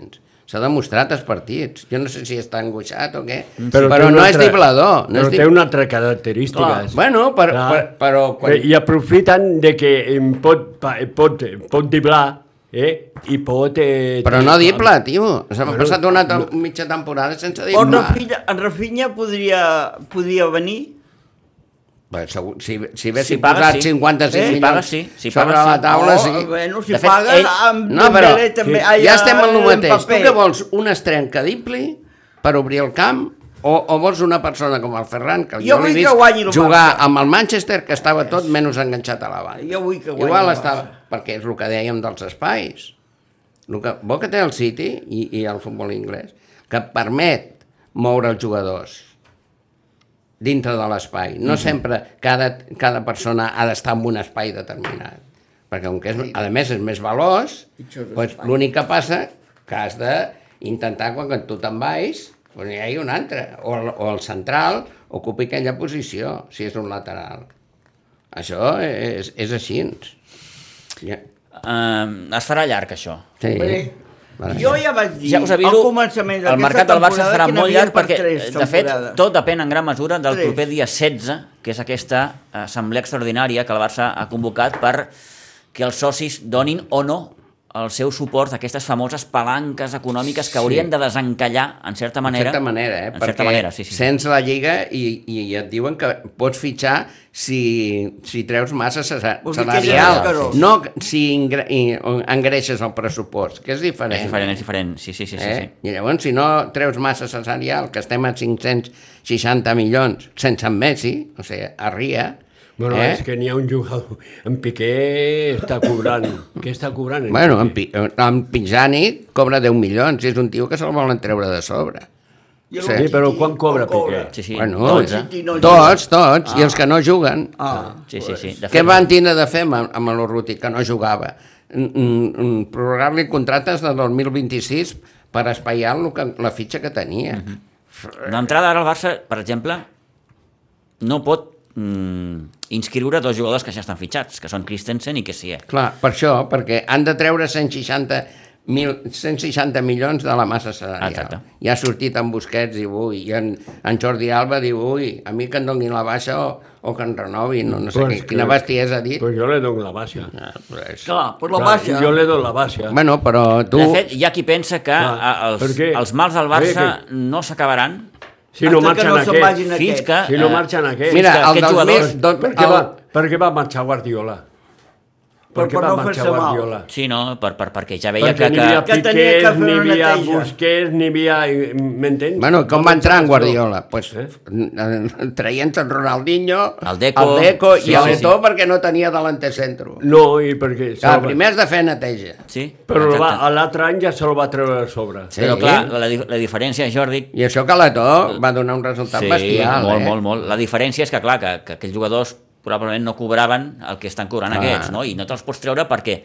C: S'ha demostrat als partits. Jo no sé si està angoixat o què, però,
B: Mm. té
C: però
B: una
C: no és
B: altra-
C: diblador. No
B: però
C: és
B: té
C: dib...
B: una altra característica. Eh,
C: Clar, bueno, per- per- però quan-
B: I aprofiten de que em pot, pa- pot, pot diblar eh? i pot... Eh,
C: però no dibla, tio. S'ha
B: Bueno,
C: passat una to- mitja temporada sense
D: o en
C: diblar.
D: Rafinha, en Rafinha podria, podria venir?
C: Bé, segur, si, si haguessin
A: Si
C: si
A: pagues,
C: posat
A: sí.
C: 55
A: Eh? Si
C: milions
A: pagues, sí. Si
C: sobre
A: pagues,
C: la
A: sí.
C: taula,
D: Oh,
C: sí.
D: Bueno, si
A: De
D: de
A: fet,
D: pagues
A: ell-
D: amb
C: No, però
D: Dembélé també.
C: ja, ja estem en el
D: en
C: mateix. Tu
D: paper.
C: que vols un estrem que dipli per obrir el camp o, o vols una persona com el Ferran, que
D: Jo
C: jo, l'he
D: vull que guanyi el
C: vist jugar amb el Manchester, que estava tot menys enganxat a la banca.
D: Jo vull que guanyi
C: Igual
D: el
C: estava, perquè és el que dèiem dels espais. El que, bo que té el City i, i el futbol anglès, que permet moure els jugadors. dintre de l'espai.
D: Mhm.
C: No sempre cada, cada persona ha d'estar en un espai determinat. Perquè com que és, a més és més veloç,
E: Pitjor
C: doncs
E: espai.
C: l'únic que passa que has d'intentar quan, quan tu te'n vais doncs hi hagi un altre, o el, o el central ocupi aquella posició, si és un lateral. Això és, és així. Ja.
A: Uh, es farà llarg, això.
C: Sí.
D: Bé,
C: Vale.
D: Jo ja vaig dir,
A: Ja us aviso,
D: al començament
A: el mercat del Barça serà molt llarg perquè, de fet,
D: tot...
A: tot depèn en gran mesura del
D: Tres.
A: proper dia 16, que és aquesta assemblea extraordinària que el Barça ha convocat per que els socis donin o no el seu suport a aquestes famoses palanques econòmiques que haurien de desencallar, en certa manera.
C: En certa manera, eh?
A: En certa manera, sí, sí.
C: sents la lliga i, i, i et diuen que pots fitxar si, si treus massa cesa-
D: Vols dir que és
C: salarial,
D: escarós.
C: no si ingre, i- o engreixes el pressupost, que és diferent.
A: És diferent, és diferent. Sí, sí, sí, sí.
C: Eh?
A: sí.
C: I llavors, si no treus massa salarial, que estem a 560 milions sense en Messi, o sigui, a Ria,
B: Bueno,
C: eh?
B: eh? és que n'hi ha un jugador... En Piqué està cobrant. Què està cobrant? eh? en
C: Bueno, en,
B: Piqué?
C: Pi- en Pinjani cobra 10 milions, és un tio que se'l volen treure de sobre. Sí.
B: Sí, però quan cobra Piqué?
A: Sí, sí.
C: bueno,
A: tots, eh?
D: Qui no juga.
C: tots, tots, i els que no juguen.
D: Ah,
A: Sí, sí, sí. De
C: Què
A: fet,
C: van tindre de fer amb, amb l'Urruti, que no jugava? Mm, mm, mm, Prorrogar-li contractes de 2026 per espaiar lo que, la fitxa que tenia. Mm -hmm.
A: D'entrada, ara el Barça, per exemple, no pot mm, inscriure dos jugadors que ja estan fitxats, que són Christensen i Kessie.
C: Clar, per això, perquè han de treure 160 mil, 160 milions de la massa salarial.
A: Exacte.
C: Ja ha sortit en Busquets, diu, ui, i en, en Jordi Alba diu, ui, a mi que em donin la baixa o, o que em renovin, o no sé
B: Però és
C: què,
B: que-
C: quina bestiesa ha dit.
B: Pues jo li dono la baixa.
C: Ah, però és...
D: Clar, pues la
B: Clar,
D: baixa.
B: Jo li dono la baixa.
C: Bueno, però tu...
A: De fet, hi ha qui pensa que
B: Clar,
A: ah, els,
B: perquè-
A: els mals del Barça
B: perquè-
A: no s'acabaran
B: Si no
D: Hasta que
B: marxen
D: no se'n
B: aquests.
D: vagin Quin
A: fins que...
D: aquest?
B: Si no
A: eh,
B: marxen aquests.
C: Mira,
A: que
C: el
A: aquests
C: del
A: jugadors...
C: mes-
B: Doncs per, què
C: el-
B: va, per què va marxar Guardiola? Per
D: Però
B: què
D: per
B: va
D: no
B: marxar
D: fer-se mal.
B: Guardiola?
A: Sí, no, per, per, perquè ja veia
B: Perquè
A: que...
B: n'hi
A: que...
B: havia
D: Que
B: Piqués,
D: tenia que fer
B: n'hi
D: una
B: havia
D: neteja.
B: Busquets, n'hi havia... M'entens?
C: Bueno, com va entrar en Guardiola? Pues,
B: Eh?
C: eh? Traient el Ronaldinho,
A: El Deco.
C: el Deco
A: Sí,
C: i el
A: sí,
C: Eto'o perquè no tenia davanter centro.
B: No, i perquè...
C: Ah,
B: se'l va-
C: primer has de fer neteja.
A: Sí,
B: Però el va,
A: exacte.
B: a l'altre any ja se'l va treure de sobre.
C: Sí.
A: Però clar, la, la, la diferència, Jordi...
C: I això que l'Eto'o va donar un resultat
A: Sí,
C: bestial,
A: molt,
C: eh?
A: molt, molt. La diferència és que, clar, que, que aquells jugadors probablement no cobraven el que estan cobrant
C: Ah.
A: aquests, no? I no te'ls pots treure perquè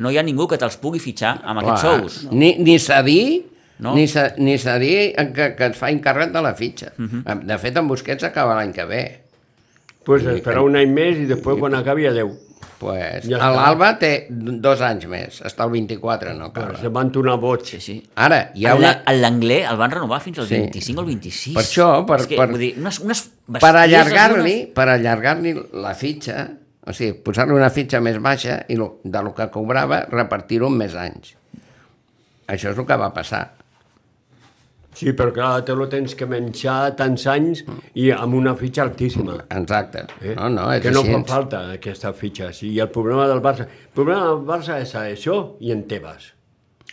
A: no hi ha ningú que te'ls pugui fitxar amb aquests
C: Clar.
A: sous.
C: Ni, ni cedir
A: No.
C: no. ni, ce- ni cedir que, que et fa encàrrec de la fitxa.
A: Mhm.
C: De fet, en Busquets acaba l'any que ve.
B: Pues esperar un any més i després quan acabi adeu.
C: Pues,
B: Ja
C: ja
B: està.
C: L'Alba té dos anys més, està al 24, no
B: Però
C: acaba.
B: se van tornar boig.
A: Sí, sí.
C: Ara, hi ha
A: En
C: una...
A: la- en L'anglès el van renovar fins al
C: Sí.
A: 25 o el 26.
C: Per això, per-
A: És que,
C: per-
A: vull dir, unes, unes
C: per
A: bestieses
C: allargar-li
A: i unes-
C: per allargar-li la fitxa o sigui, posar-li una fitxa més baixa i lo, de lo que cobrava repartir-ho en més anys això és el que va passar
B: Sí, però clar, te lo tens que menjar tants anys i amb una fitxa altíssima.
C: exacte
B: Eh?
C: no, no, és
B: que no
C: així.
B: fa falta aquesta fitxa. Sí, I el problema del Barça... El problema del Barça és això i en Tebas.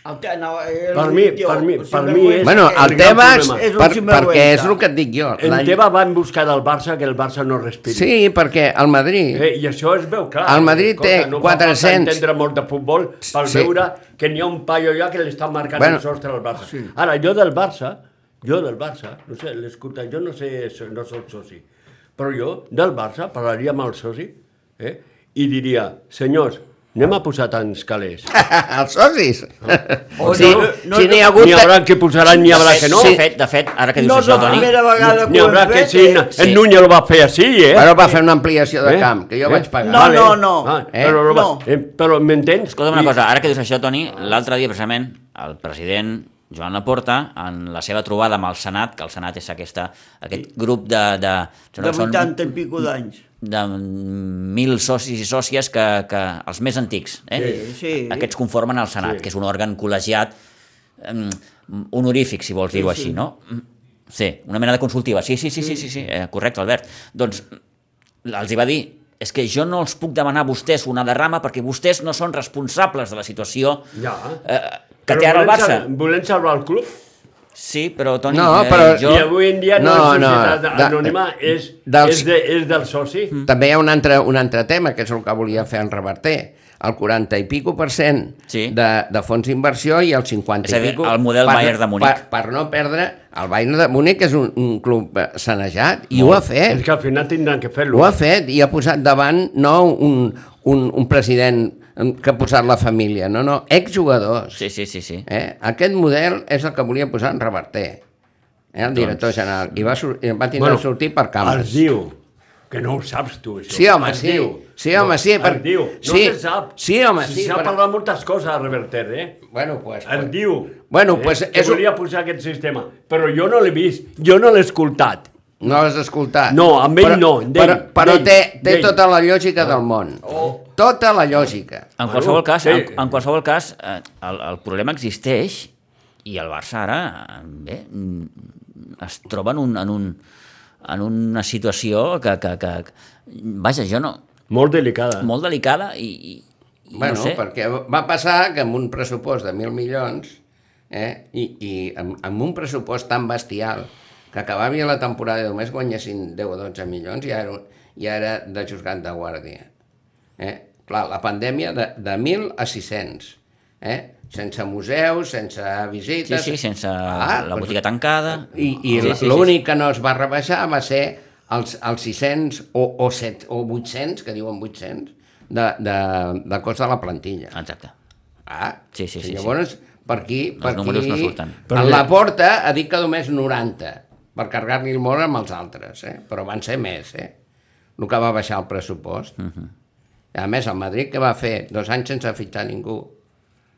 D: El te- no, eh,
B: Per
D: el
B: mi-
D: tio,
B: per mi-
D: o sigui,
B: per mi
D: vergonya.
B: és-
C: bueno,
B: el gran
C: el Tebas
B: problema.
D: És un
C: per,
D: sinvergüenza.
C: perquè és el que et dic jo
B: En
C: la-
B: Teba van buscar del Barça que el Barça no respiri.
C: sí, perquè el Madrid
B: Eh, I això es veu clar.
C: El Madrid té
B: no
C: 400.
B: No entendre molt de futbol per sí.
C: Sí.
B: veure que n'hi ha un paio allà que li està marcant bueno,
C: Bueno.
B: el sostre al Barça. Sí. Ara, jo del Barça, jo del Barça, no sé, l'escolta, jo no sé, no soc soci, però jo del Barça parlaria amb el soci eh, i diria, senyors, anem a posar tants calés.
C: els socis
B: Eh.
D: O
C: si,
D: no, no,
C: si
D: no,
C: n'hi ha hagut
B: N'hi haurà que posaran, n'hi haurà
A: De fet,
B: que no.
A: De fet, de fet, ara que dius
D: No és
A: això,
D: la
A: Toni...
D: primera vegada
B: N'hi
D: que ho
B: haurà
D: has
B: que
D: fet.
B: sí,
D: eh?
B: en sí. Núñez ho va fer així, eh?
C: però va fer una ampliació de camp que jo
B: eh?
C: vaig pagar
D: No, no, no.
B: Ah,
C: Eh?
B: Però, no.
D: No.
B: Eh, però m'entens?
A: Escolta'm
B: I-
A: una cosa, ara que dius això, Toni, l'altre dia, precisament, el president Joan Laporta, en la seva trobada amb el Senat, que el Senat és aquesta, aquest grup de... De,
D: De
A: són-
D: 80 i pico d'anys.
A: de mil socis i sòcies que, que els més antics, eh?
D: Sí, sí.
A: aquests conformen el Senat, sí. que és un òrgan col·legiat em, honorífic, si vols dir-ho així, no? Mm, Sí, una mena de consultiva. Sí, sí, sí, sí, sí, sí. Eh, correcte, Albert. Doncs els hi va dir és que jo no els puc demanar a vostès una derrama perquè vostès no són responsables de la situació
B: Ja.
A: eh, que té ara el
B: volem
A: Barça.
B: sal- Volem salvar el club?
A: Sí, però, Toni,
C: No,
A: eh,
C: però-
B: Jo...
A: jo...
B: I avui en dia no,
C: No,
B: no és
C: no,
B: societat
C: de-
B: anònima, és,
C: dels-
B: és, de, és del soci.
A: Mm.
C: També hi ha un altre, un altre tema, que és el que volia fer en Reverter. el 40 i pico per cent
A: Sí.
C: de, de fons d'inversió i el 50
A: És a dir,
C: i pico...
A: el model
C: per,
A: Bayern de Munic.
C: Per, per no perdre... El Bayern de Múnich és un, un club eh, sanejat i ho ha fet.
B: És que al final tindran que fer-lo.
C: Eh? Ho ha fet i ha posat davant no un, un, un president mm, que ha posat la família, no, no, exjugadors.
A: Sí, sí, sí, sí.
C: Eh? Aquest model és el que volia posar en Reverter, eh? el director
A: Doncs
C: general, i va, sur i va tindre bueno, sortir per
B: Es
C: càmeres.
B: diu, que no ho saps tu, això.
C: Sí, home,
B: es
C: sí.
B: Diu.
C: Sí, home, sí,
B: No,
C: per-
B: Es diu, no
C: sí.
B: se sap.
C: Sí, home, sí,
B: S'ha
C: per-
B: parlat moltes coses a Reverter, eh?
C: Bueno, pues,
B: Es
C: pues,
B: diu
C: Bueno,
B: eh,
C: pues
B: que
C: és un-
B: volia posar aquest sistema, però jo no l'he vist, jo no l'he escoltat.
C: no l'has escoltat.
B: No, amb ell no, d'ell,
C: però, però
B: d'ell,
C: té, té
B: d'ell.
C: tota la lògica del món.
A: Oh.
C: Tota la lògica.
A: En qualsevol cas, en,
B: sí.
A: en qualsevol cas eh, el, el problema existeix i el Barça ara eh, bé, mm, es troba en, un, en, un, en una situació que, que, que, vaja, jo no,
B: Molt delicada.
A: molt delicada i, i, i
C: Ah. Bueno,
A: no sé.
C: perquè va passar que amb un pressupost de mil milions eh, i, i amb, amb un pressupost tan bestial que acabava la temporada i només guanyessin 10 o 12 milions ja era, ja era de juzgat de guàrdia. Eh? Clar, la pandèmia de, de 1.000 a 600. Eh? Sense museus, sense
A: Sí,
C: visites...
A: sí, sense
C: Ah,
A: la
C: doncs-
A: botiga tancada.
C: i, i sí, sí, l'únic sí. que no es va rebaixar va ser els, els 600 o, o, 7, o 800, que diuen 800, de, de, de cost de la plantilla.
A: Exacte.
C: Ah,
A: Sí, sí, sí,
C: Llavors, per aquí... Per
A: números
C: aquí,
A: no surten.
B: Però-
C: En la porta ha dit que només 90, per carregar-li el món amb els altres, eh? però van ser més, eh? el que va baixar el pressupost. Uh
A: Mhm.
C: -huh. A més, el Madrid que va fer dos anys sense fitxar ningú.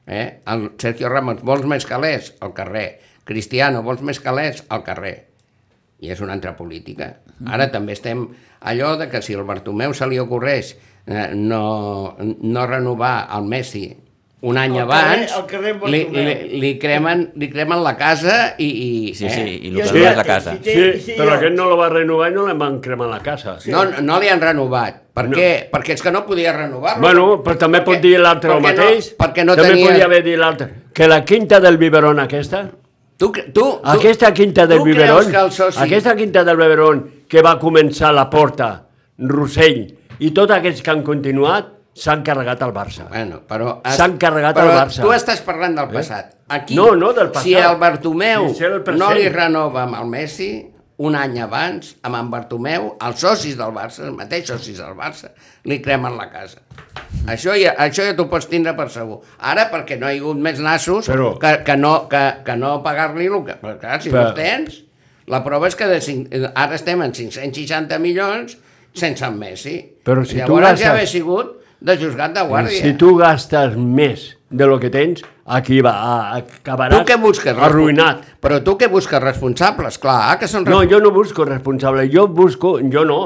C: Eh? El Sergio Ramos, vols més calés? Al carrer. Cristiano, vols més calés? Al carrer. I és una altra política. Ara també estem allò de que si el Bartomeu se li ocorreix eh, no, no renovar el Messi un any
D: Al carrer-
C: abans,
D: al carrer
C: li,
D: Bartomeu.
C: li, li, cremen, li cremen la casa i... i eh?
A: Sí, sí, i
D: Jo
A: el
D: sé
A: que és la
D: que
A: casa.
D: si té-
B: Sí,
D: sí,
B: però
D: jo-
B: aquest no la va renovar i no la van cremar a la casa.
C: No, no li han renovat. Per
B: No.
C: què? Perquè és que no podia renovar-lo.
B: Bueno, però també pot dir l'altre el
C: perquè no-
B: mateix.
C: perquè no
B: també
C: tenia-
B: podia haver dit l'altre. Que la quinta del biberon aquesta,
C: Tu, cre- tu, tu,
B: aquesta quinta del
C: tu creus
B: biberon,
C: que el soci...
B: aquesta quinta del biberon que va començar la porta, Rossell i tots aquests que han continuat, s'han carregat al Barça.
C: Bueno, però...
B: S'han carregat
C: però
B: el Barça. Eh?
C: tu estàs parlant del passat. Aquí,
B: No, no, del passat.
C: Si el Bartomeu
B: Si és el present.
C: no li renova amb el Messi, un any abans, amb en Bartomeu, els socis del Barça, els mateixos socis del Barça, li cremen la casa. Això ja, això ja t'ho pots tindre per segur. Ara, perquè no hi ha hagut més nassos
B: Però-
C: que, que no, que, que no pagar-li el que... Però clar, si
B: Però-
C: però... no els tens... La prova és que de cinc, eh, ara estem en 560 milions sense en Messi.
B: Però si tu
C: Llavors
B: gastes-
C: ja hauria sigut de juzgat de guàrdia.
B: Si tu gastes més de lo que tens, aquí va, a- acabaràs
C: Tu què busques?
B: arruïnat.
C: Però tu què busques? Responsables, clar, que són
B: No,
C: responsables.
B: yo no busco responsable, yo busco, yo no,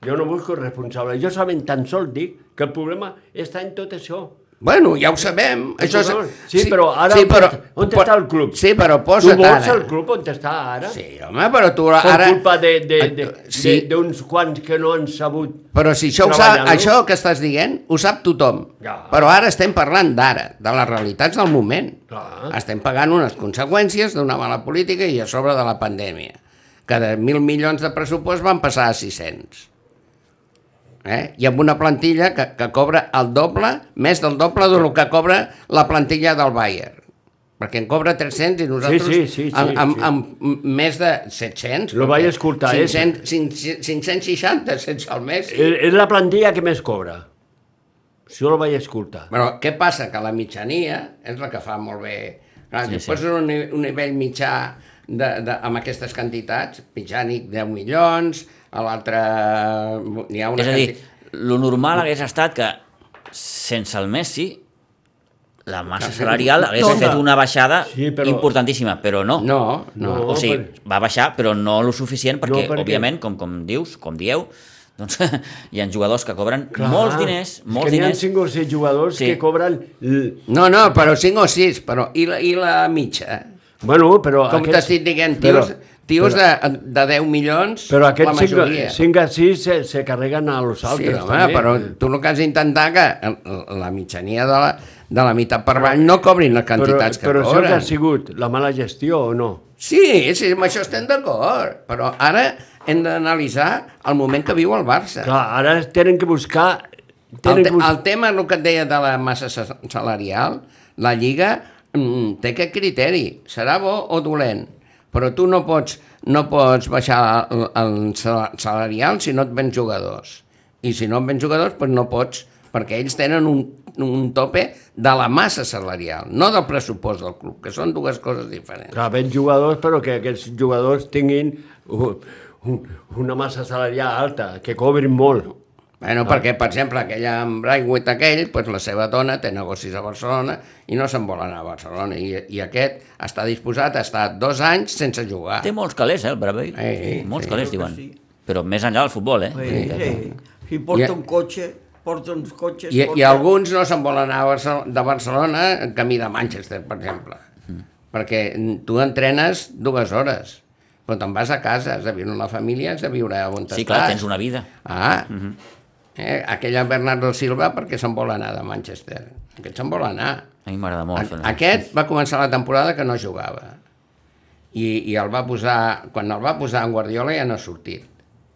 B: yo no busco responsable. Jo saben tan sols dic que el problema està en tot això.
C: Bueno, ja ho sabem. Això és...
B: Sí, però ara on està- on
C: po-
B: està el club?
C: Sí, però
B: tu
C: posa't
B: vols
C: ara.
B: el club on està ara?
C: Sí, home, però tu
B: Per
C: ara...
B: culpa de- de- de-
C: sí,
B: de- d'uns quants que no han sabut.
C: Però si això, ho sap,
B: treballar-lo.
C: això que estàs dient ho sap tothom.
B: Ja.
C: Però ara estem parlant d'ara, de les realitats del moment.
B: Clar.
C: Estem pagant unes conseqüències d'una mala política i a sobre de la pandèmia. Que de mil milions de pressupost van passar a 600. Eh? I amb una plantilla que, que cobra el doble, més del doble del que cobra la plantilla del Bayern. Perquè en cobra 300 i nosaltres
B: sí, sí, sí,
C: amb, amb,
B: sí.
C: amb més de 700.
B: Lo vaig escoltar, eh?
C: 500, 560, sense el Messi.
B: És és la plantilla que més cobra. Si jo la vaig escoltar.
C: Però què passa? Que la mitjania és la que fa molt bé. Clar,
A: Sí,
C: sí,
A: sí.
C: si poses un, ni- un nivell mitjà de, de, amb aquestes quantitats, mitjànic 10 milions, a l'altre n'hi ha una
A: És a dir,
C: quanti-
A: lo normal hagués estat que sense el Messi la massa salarial hagués
B: Tota.
A: fet una baixada
B: Sí, però-
A: importantíssima, però no.
C: No, no.
B: No.
A: O sigui,
B: perquè-
A: va baixar, però no lo suficient, perquè,
B: No, perquè-
A: òbviament, com, com dius, com dieu, doncs hi ha jugadors que cobren molts diners,
B: És
A: molts
B: que n'hi ha
A: diners.
B: cinc o sis jugadors
A: Sí.
B: que cobren... l-
C: No, no, però 5 o 6, però i la, i la mitja?
B: Bueno, però...
C: Com
B: aquests-
C: t'estic dient,
B: però-
C: tios, tios de, de 10 milions,
B: Però
C: la
B: aquests 5,
C: majoria.
B: 5 a 6 se, se carreguen a los
C: Sí,
B: altres.
C: home,
B: també.
C: però tu el que has d'intentar que el- la mitjania de la, de la meitat per avall no cobrin les quantitats
B: però,
C: que
B: però
C: cobren.
B: Però això que ha sigut la mala gestió o no?
C: Sí, sí, amb això estem d'acord, però ara hem d'analitzar el moment que viu el Barça.
B: Clar, ara tenen que buscar
C: El,
B: Tenen
C: te
B: gust-
C: el tema, el que et deia de la massa sa- salarial, la Lliga mm, té aquest criteri, serà bo o dolent, però tu no pots, no pots baixar el, el sala- salarial si no et vens jugadors. I si no et vens jugadors, doncs no pots, perquè ells tenen un, un tope de la massa salarial, no del pressupost del club, que són dues coses diferents.
B: Clar, vens jugadors, però que aquests jugadors tinguin un, un, una massa salarial alta, que cobrin molt.
C: Bueno, perquè, per exemple, aquell en Braithwaite aquell, doncs la seva dona té negocis a Barcelona i no se'n vol anar a Barcelona. I, I aquest està disposat a estar dos anys sense jugar.
A: Té molts calés, eh, el Bravell.
C: Eh, eh,
A: molts
C: sí.
A: calés,
D: Crec que
A: diuen.
D: sí.
A: Però més enllà del futbol, eh?
D: Sí, sí. Si
C: I-
D: porta un cotxe, porta uns cotxes...
C: I,
D: porta...
C: I alguns no se'n volen anar a Barcel- de Barcelona en camí de Manchester, per exemple. Mm. Perquè tu entrenes dues hores, però te'n vas a casa, has de viure amb la família, has de viure on
A: Sí, clar, tens una Mhm. vida.
C: Ah, mm -hmm. eh, aquell en Bernardo Silva perquè se'n vol anar de Manchester. Aquest se'n vol anar.
A: A mi m'agrada molt. fer
C: A-
A: una-
C: Aquest va començar la temporada que no jugava. I, i el va posar, quan el va posar en Guardiola ja no ha sortit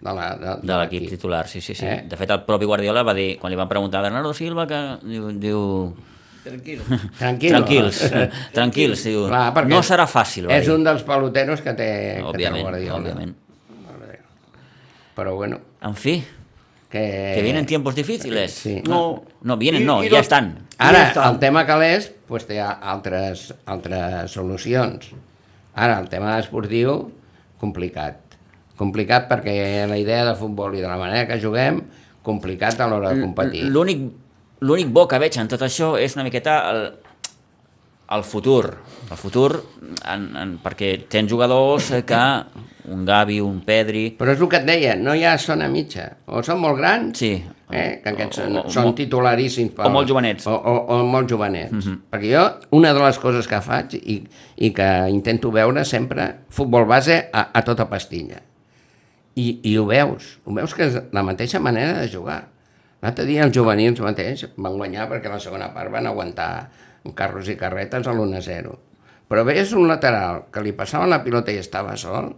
C: de la- de-
A: de l'equip titular, sí, sí, sí.
C: Eh?
A: De fet, el propi Guardiola va dir, quan li van preguntar a Bernardo Silva, que diu, diu
D: Tranquil.
C: Tranquil.
A: tranquils, tranquils, diu,
C: Clar, perquè
A: no serà fàcil, va
C: És
A: dir.
C: un dels peloteros que té, que té el
A: Òbviament,
C: Guardiola.
A: òbviament.
C: Però bueno,
A: En fi,
C: que...
A: que vienen tiempos difíciles.
C: Eh, Sí.
D: No.
A: No, vienen
D: I-
A: no,
D: i
A: ja
D: los-
A: estan.
C: Ara,
D: Ja està.
C: el tema calés pues, té altres, altres solucions. Ara, el tema esportiu, complicat. Complicat perquè la idea de futbol i de la manera que juguem, complicat a l'hora de competir.
A: L'únic l'únic bo que veig en tot això és una miqueta el, el futur. El futur, en, en, perquè tens jugadors que un Gavi, un Pedri...
C: Però és el que et deia, no hi ha zona mitja. O són molt grans,
A: Sí.
C: eh, que aquests
A: O-
C: són,
A: o- o
C: són
A: molt-
C: titularíssims.
A: o molt jovenets. Mhm.
C: O, o, o molt jovenets. Perquè jo, una de les coses que faig i, i que intento veure sempre, futbol base a, a tota pastilla. I, I ho veus, ho veus que és la mateixa manera de jugar. L'altre dia els juvenils mateix van guanyar perquè la segona part van aguantar carros i carretes a l'1-0. Però veies un lateral que li passaven la pilota i estava sol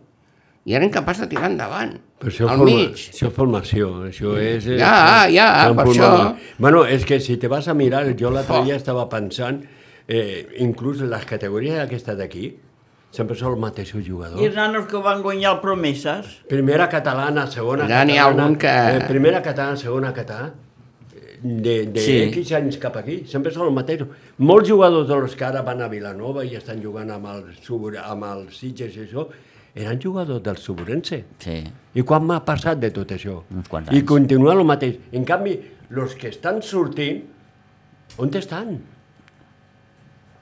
C: i era incapaç de tirar endavant,
B: Però això,
C: al
B: forma,
C: mig.
B: això és formació, això és... eh,
C: Ja,
B: eh,
C: ja,
B: gran
C: per
B: formació.
C: això.
B: Bueno, és que si te vas a mirar, jo l'altre
C: Oh.
B: dia estava pensant, eh, inclús les categories d'aquesta d'aquí, sempre són els mateixos
D: I els
B: jugadors.
D: nanos que van guanyar el Promeses,
B: Primera catalana, segona
C: Ja n'hi ha algun que-
B: Eh, primera catalana, segona catalana, eh, de, de
A: Sí.
B: sí. X anys cap aquí, sempre són els mateixos. Molts jugadors de los que ara van a Vilanova i estan jugant amb el, Subur- amb el Sitges i això, eren jugadors del Suburense.
A: Sí.
B: I quan m'ha passat de tot això?
A: Uns quants
B: I
A: anys.
B: continua el mateix. En canvi, els que estan sortint, on estan?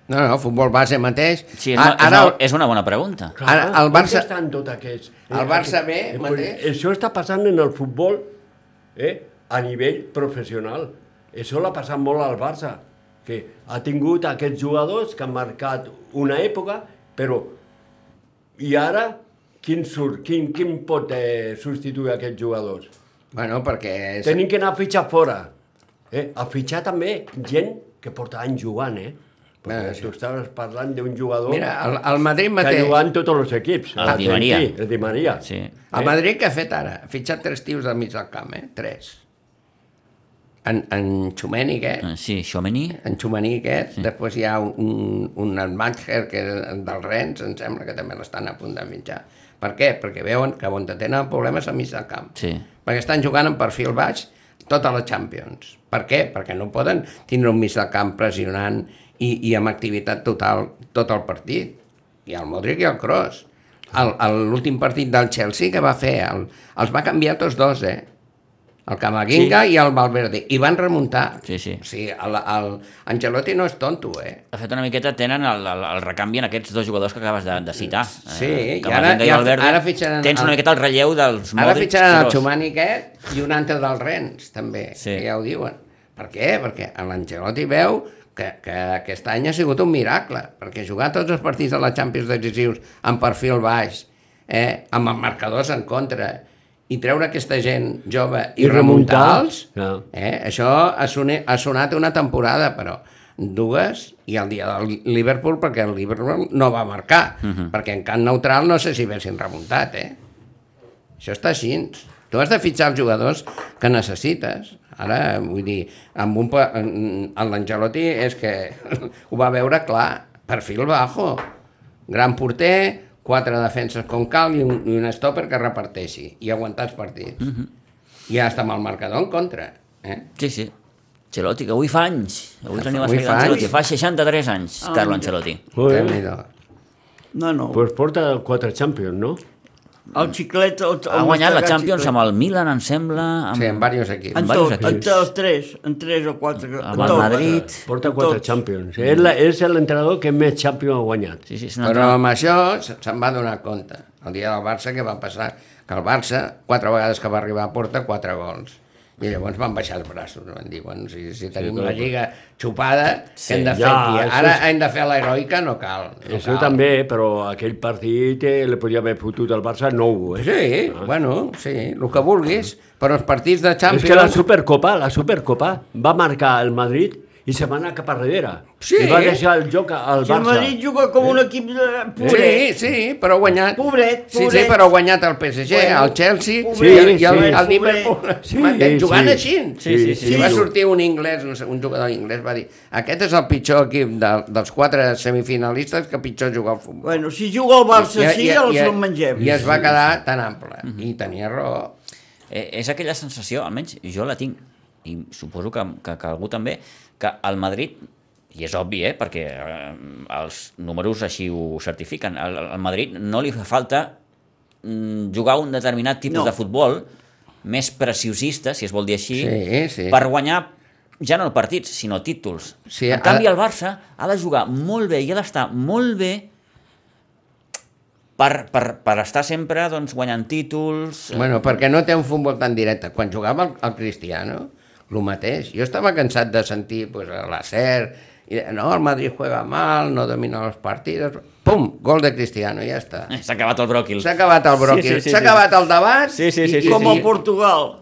C: No, no, futbol base mateix.
A: Sí, és, una,
C: A- Ah, ara,
A: és, una, és una bona pregunta.
C: Ara, el Barça-
B: On estan tot aquests?
C: El Barça B
B: Eh, pues,
C: mateix.
B: Això està passant en el futbol eh, a nivell professional. Això l'ha passat molt al Barça, que ha tingut aquests jugadors que han marcat una època, però i ara quin, surt, quin, quin pot eh, substituir aquests jugadors?
C: Bueno, perquè... És...
B: Tenim que anar a fitxar fora. Eh? A fitxar també gent que porta anys jugant, eh? Perquè
C: Ah, sí.
B: tu estaves parlant d'un jugador
C: Mira, el, el Madrid
B: que
C: mateix...
B: jugant tots els equips.
A: El Ah, Di Maria.
B: Argentí, El Di Maria.
A: Sí.
C: El Madrid què ha fet ara? Ha fitxat tres tios al mig del camp, eh? Tres. En, en Xumeni, què?
A: Eh, Sí, Xomeni.
C: En Xumení aquest, sí. després hi ha un, un, un en Mancher, que és del Rennes, em sembla que també l'estan a punt de mitjar. Per què? Perquè veuen que on tenen problemes a mig del camp.
A: Sí.
C: Perquè estan jugant en perfil baix tota la Champions. Per què? Perquè no poden tindre un mig del camp pressionant i, i amb activitat total tot el partit. I el Modric i el Kroos. El- el- L'últim partit del Chelsea que va fer, el, els va canviar tots dos, eh? El Camavinga sí. i el Valverde. I van remuntar.
A: Sí, sí.
C: O sigui, el, el Angelotti no és tonto, eh?
A: De fet, una miqueta tenen el, el, el recanvi en aquests dos jugadors que acabes de, de citar. Eh,
C: Sí, i
A: Camavinga
C: ara- i ara-
A: Valverde.
C: ara fitxaran
A: Tens una
C: el-
A: miqueta el relleu dels
C: Ara
A: Modric.
C: fitxaran el
A: Kroos.
C: Xumani aquest i un altre del Rens, també,
A: Sí.
C: sí. ja ho diuen. Per què? Perquè l'Angelotti veu que, que aquest any ha sigut un miracle, perquè jugar tots els partits de la Champions decisius amb perfil baix, eh, amb els marcadors en contra, i treure aquesta gent jove i,
B: I remuntar.
C: remuntar-los,
B: Clar.
C: eh, això ha, sone, ha sonat una temporada, però dues, i el dia del Liverpool, perquè el Liverpool no va marcar, perquè en camp neutral no sé si haguessin remuntat, eh? Això està així. Tu has de fitxar els jugadors que necessites. Ara, vull dir, amb un... pa- en- en l'Angelotti és que ho va veure clar, perfil bajo. Gran porter, quatre defenses com cal i un, i un stopper que reparteixi i aguantar els partits. Mm -hmm. I ara està amb el marcador en contra. Eh?
A: Sí, sí. Ancelotti, que avui fa anys. Avui tenim
C: Avui
A: l'aniversari
C: fa
A: d'Ancelotti.
C: anys.
A: Fa 63 anys,
D: Ah,
A: Carlo
D: mira.
A: Ancelotti.
B: Molt bé.
C: Déu-n'hi-do.
D: No, no.
B: Pues porta quatre Champions, no?
D: El xiclet... El, el
A: Ha guanyat la
D: mastegat
A: Champions
D: xiclet.
A: amb el Milan, em sembla,
C: Sí,
A: amb,
C: en diversos equips.
D: En
A: amb
D: tot,
A: diversos
D: en
A: equips.
D: tots tres, en tres o quatre. en
A: amb el
D: tot.
A: Madrid.
B: Porta quatre
D: Tots.
B: Champions. És la- És l'entrenador que més Champions ha guanyat.
A: Sí, sí, és una
C: Però
A: altra...
C: amb això se- se'n va donar compte. El dia del Barça, que va passar? Que el Barça, quatre vegades que va arribar a porta, quatre gols. I llavors van baixar els braços, van dir, bueno, si, si tenim la lliga xupada,
A: Sí,
C: sí, hem de fer
B: ja,
C: ja,
B: això
C: aquí. Ara
B: és-
C: hem de fer l'heroica, no cal. No
B: Això
C: cal.
B: també, però aquell partit eh, li podia haver fotut al Barça nou, eh?
C: Sí, ah. bueno, sí, el que vulguis, però els partits de
B: És que la
C: Champions...
B: Supercopa, la Supercopa va marcar el Madrid i se va anar cap a darrere.
C: Sí.
B: I va deixar el joc al
D: Si el
B: Barça.
D: Madrid juga com un equip de...
C: Sí,
D: Pobret.
C: sí, però ha guanyat.
D: Pobret,
C: Sí, sí,
D: pobret.
C: però ha guanyat el PSG,
D: Bueno,
C: el Chelsea
D: pobret,
C: i, el- i el,
B: sí,
C: el
D: sí.
C: Liverpool.
B: Sí,
C: Sí, jugant
B: sí.
C: així.
B: Sí, sí, sí.
C: I va
B: Sí.
C: sortir un anglès, un, un jugador anglès, va dir aquest és el pitjor equip de, dels quatre semifinalistes que pitjor juga al futbol.
D: Bueno, si juga el Barça sí, ja els el mengem.
C: I es va quedar tan ample. I tenia raó.
A: Eh, és aquella sensació, almenys jo la tinc, i suposo que, que, que algú també, que el Madrid, i és obvi, eh, perquè eh, els números així ho certifiquen, al, al Madrid no li fa falta mm, jugar un determinat tipus
D: No.
A: de futbol més preciosista, si es vol dir així,
C: Sí, sí.
A: per guanyar ja no partits, sinó títols.
C: Sí,
A: en canvi,
C: ara-
A: el Barça ha de jugar molt bé i ha d'estar molt bé per, per, per estar sempre doncs, guanyant títols,
C: Bueno, perquè no té un futbol tan directe. Quan jugava el, el Cristiano, el mateix. Jo estava cansat de sentir pues, a la SER, i de, no, el Madrid juega mal, no domina els partits... Pum, gol de Cristiano, ja està.
A: Eh, S'ha acabat el bròquil.
C: S'ha acabat el bròquil,
E: Sí, sí,
C: s'ha
E: sí, sí.
C: acabat el debat...
E: Sí, sí, sí, sí,
D: Com
C: i,
D: a Portugal.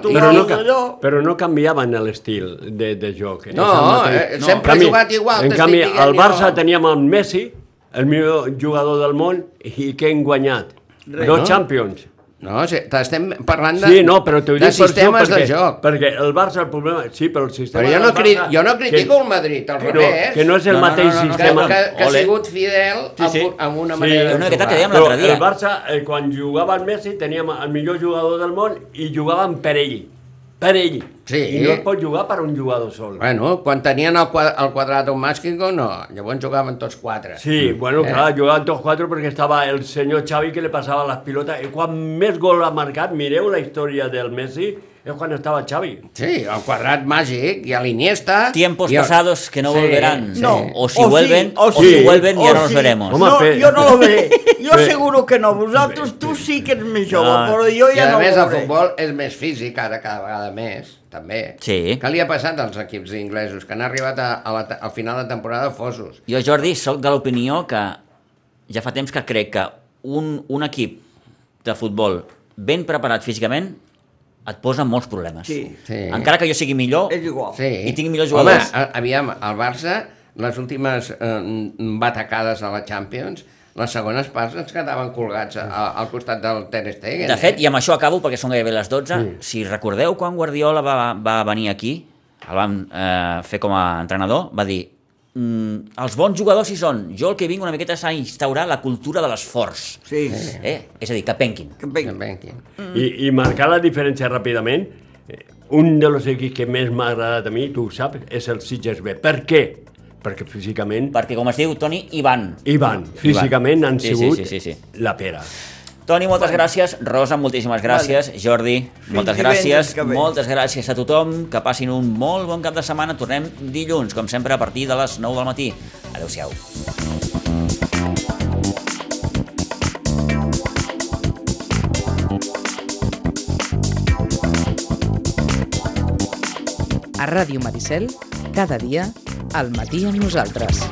B: Però
D: Portugal
B: no,
D: és
B: ca-
D: allò...
B: però no canviaven l'estil de, de joc.
C: No,
B: És el mateix.
C: eh, sempre
B: En
C: ha jugat igual,
B: En
C: t'estic
B: canvi,
C: dient
B: al
C: jo.
B: Barça teníem el Messi, el millor jugador del món, i què hem guanyat?
D: Res,
B: no,
C: no?
B: Champions.
C: No, sí, estem parlant de,
B: Sí, no, però t'ho
C: de
B: dic per això,
C: sistemes
B: perquè,
C: de joc.
B: perquè el Barça, el problema... Sí, però el sistema
C: Però jo
B: del
C: no, cri,
B: Barça-
C: jo no critico
B: que-
C: el Madrid, al
B: que no-
C: revés.
B: que no és el mateix sistema.
C: Que, que, que ha
A: Ole.
C: sigut fidel
E: Sí, sí.
C: Amb, amb una
B: Sí.
C: manera
B: És
C: de
A: una miqueta
C: jugar.
A: que dèiem
B: Però
A: l'altre dia.
B: el Barça, eh, quan jugava el Messi, teníem el millor jugador del món i jugaven per ell. Per ell.
C: Sí.
B: I no es pot jugar per un jugador sol.
C: Bueno, quan tenien el, quadrat, el quadrat un màsquico, no. Llavors jugaven tots quatre.
B: Sí, bueno,
C: Eh.
B: clar, jugaven tots quatre perquè estava el senyor Xavi que li passava les pilotes. I quan més gol ha marcat, mireu la història del Messi, és quan estava Xavi.
C: Sí, el quadrat màgic i a l'Iniesta...
A: Tiempos
C: i el-
A: pasados que no
C: Sí,
A: volverán.
C: sí.
D: No.
A: O si
D: O sí,
A: vuelven,
D: o
A: o si,
B: sí,
A: vuelven ya
D: o
A: no nos
D: sí.
A: veremos.
B: Home,
D: no,
B: Pe-
D: jo no lo veré. Jo
B: Pe-
D: seguro que no. Vosaltres, tu sí que ets més jove,
B: Ah.
D: però jo
C: I
D: ja
C: a
D: no ho
C: més el
D: veuré.
C: futbol és més físic ara cada vegada més, també.
A: Sí.
C: Què li ha passat als equips inglesos? Que han arribat a, a la, te- al final de temporada fosos.
A: Jo, Jordi, sóc de l'opinió que ja fa temps que crec que un, un equip de futbol ben preparat físicament et posa molts problemes.
D: Sí.
C: Sí.
A: Encara que jo sigui millor,
D: És igual.
C: Sí.
A: Oh, I tingui millors jugadors.
C: Home, a- aviam, el Barça, les últimes eh, batacades a la Champions, les segones parts ens quedaven colgats a, a, al costat del Ter Stegen.
A: de fet,
C: eh?
A: i amb això acabo perquè són gairebé les 12, si recordeu quan Guardiola va, va venir aquí, el vam eh, fer com a entrenador, va dir mm, els bons jugadors hi són, jo el que vinc una miqueta és a instaurar la cultura de l'esforç.
D: Sí.
A: Eh? És a dir, que penquin.
D: Que
C: eh?
D: vinga.
C: Benkin.
A: Mm.
B: I, i marcar la diferència ràpidament, eh, un dels equips que més m'ha agradat a mi, tu ho saps, és el Sitges B. Per què? Perquè físicament
A: Perquè, com es diu, Toni, hi van.
B: hi van, físicament han
A: Sí, sí,
B: sigut
A: sí, sí, sí.
B: la pera.
A: Toni, moltes gràcies. Rosa, moltíssimes gràcies. Jordi, moltes
D: divendres
A: gràcies.
D: que ve.
A: Moltes gràcies a tothom. Que passin un molt bon cap de setmana. Tornem dilluns, com sempre, a partir de les 9 del matí. Adéu-siau.
F: A Ràdio Maricel, cada dia, al matí amb nosaltres.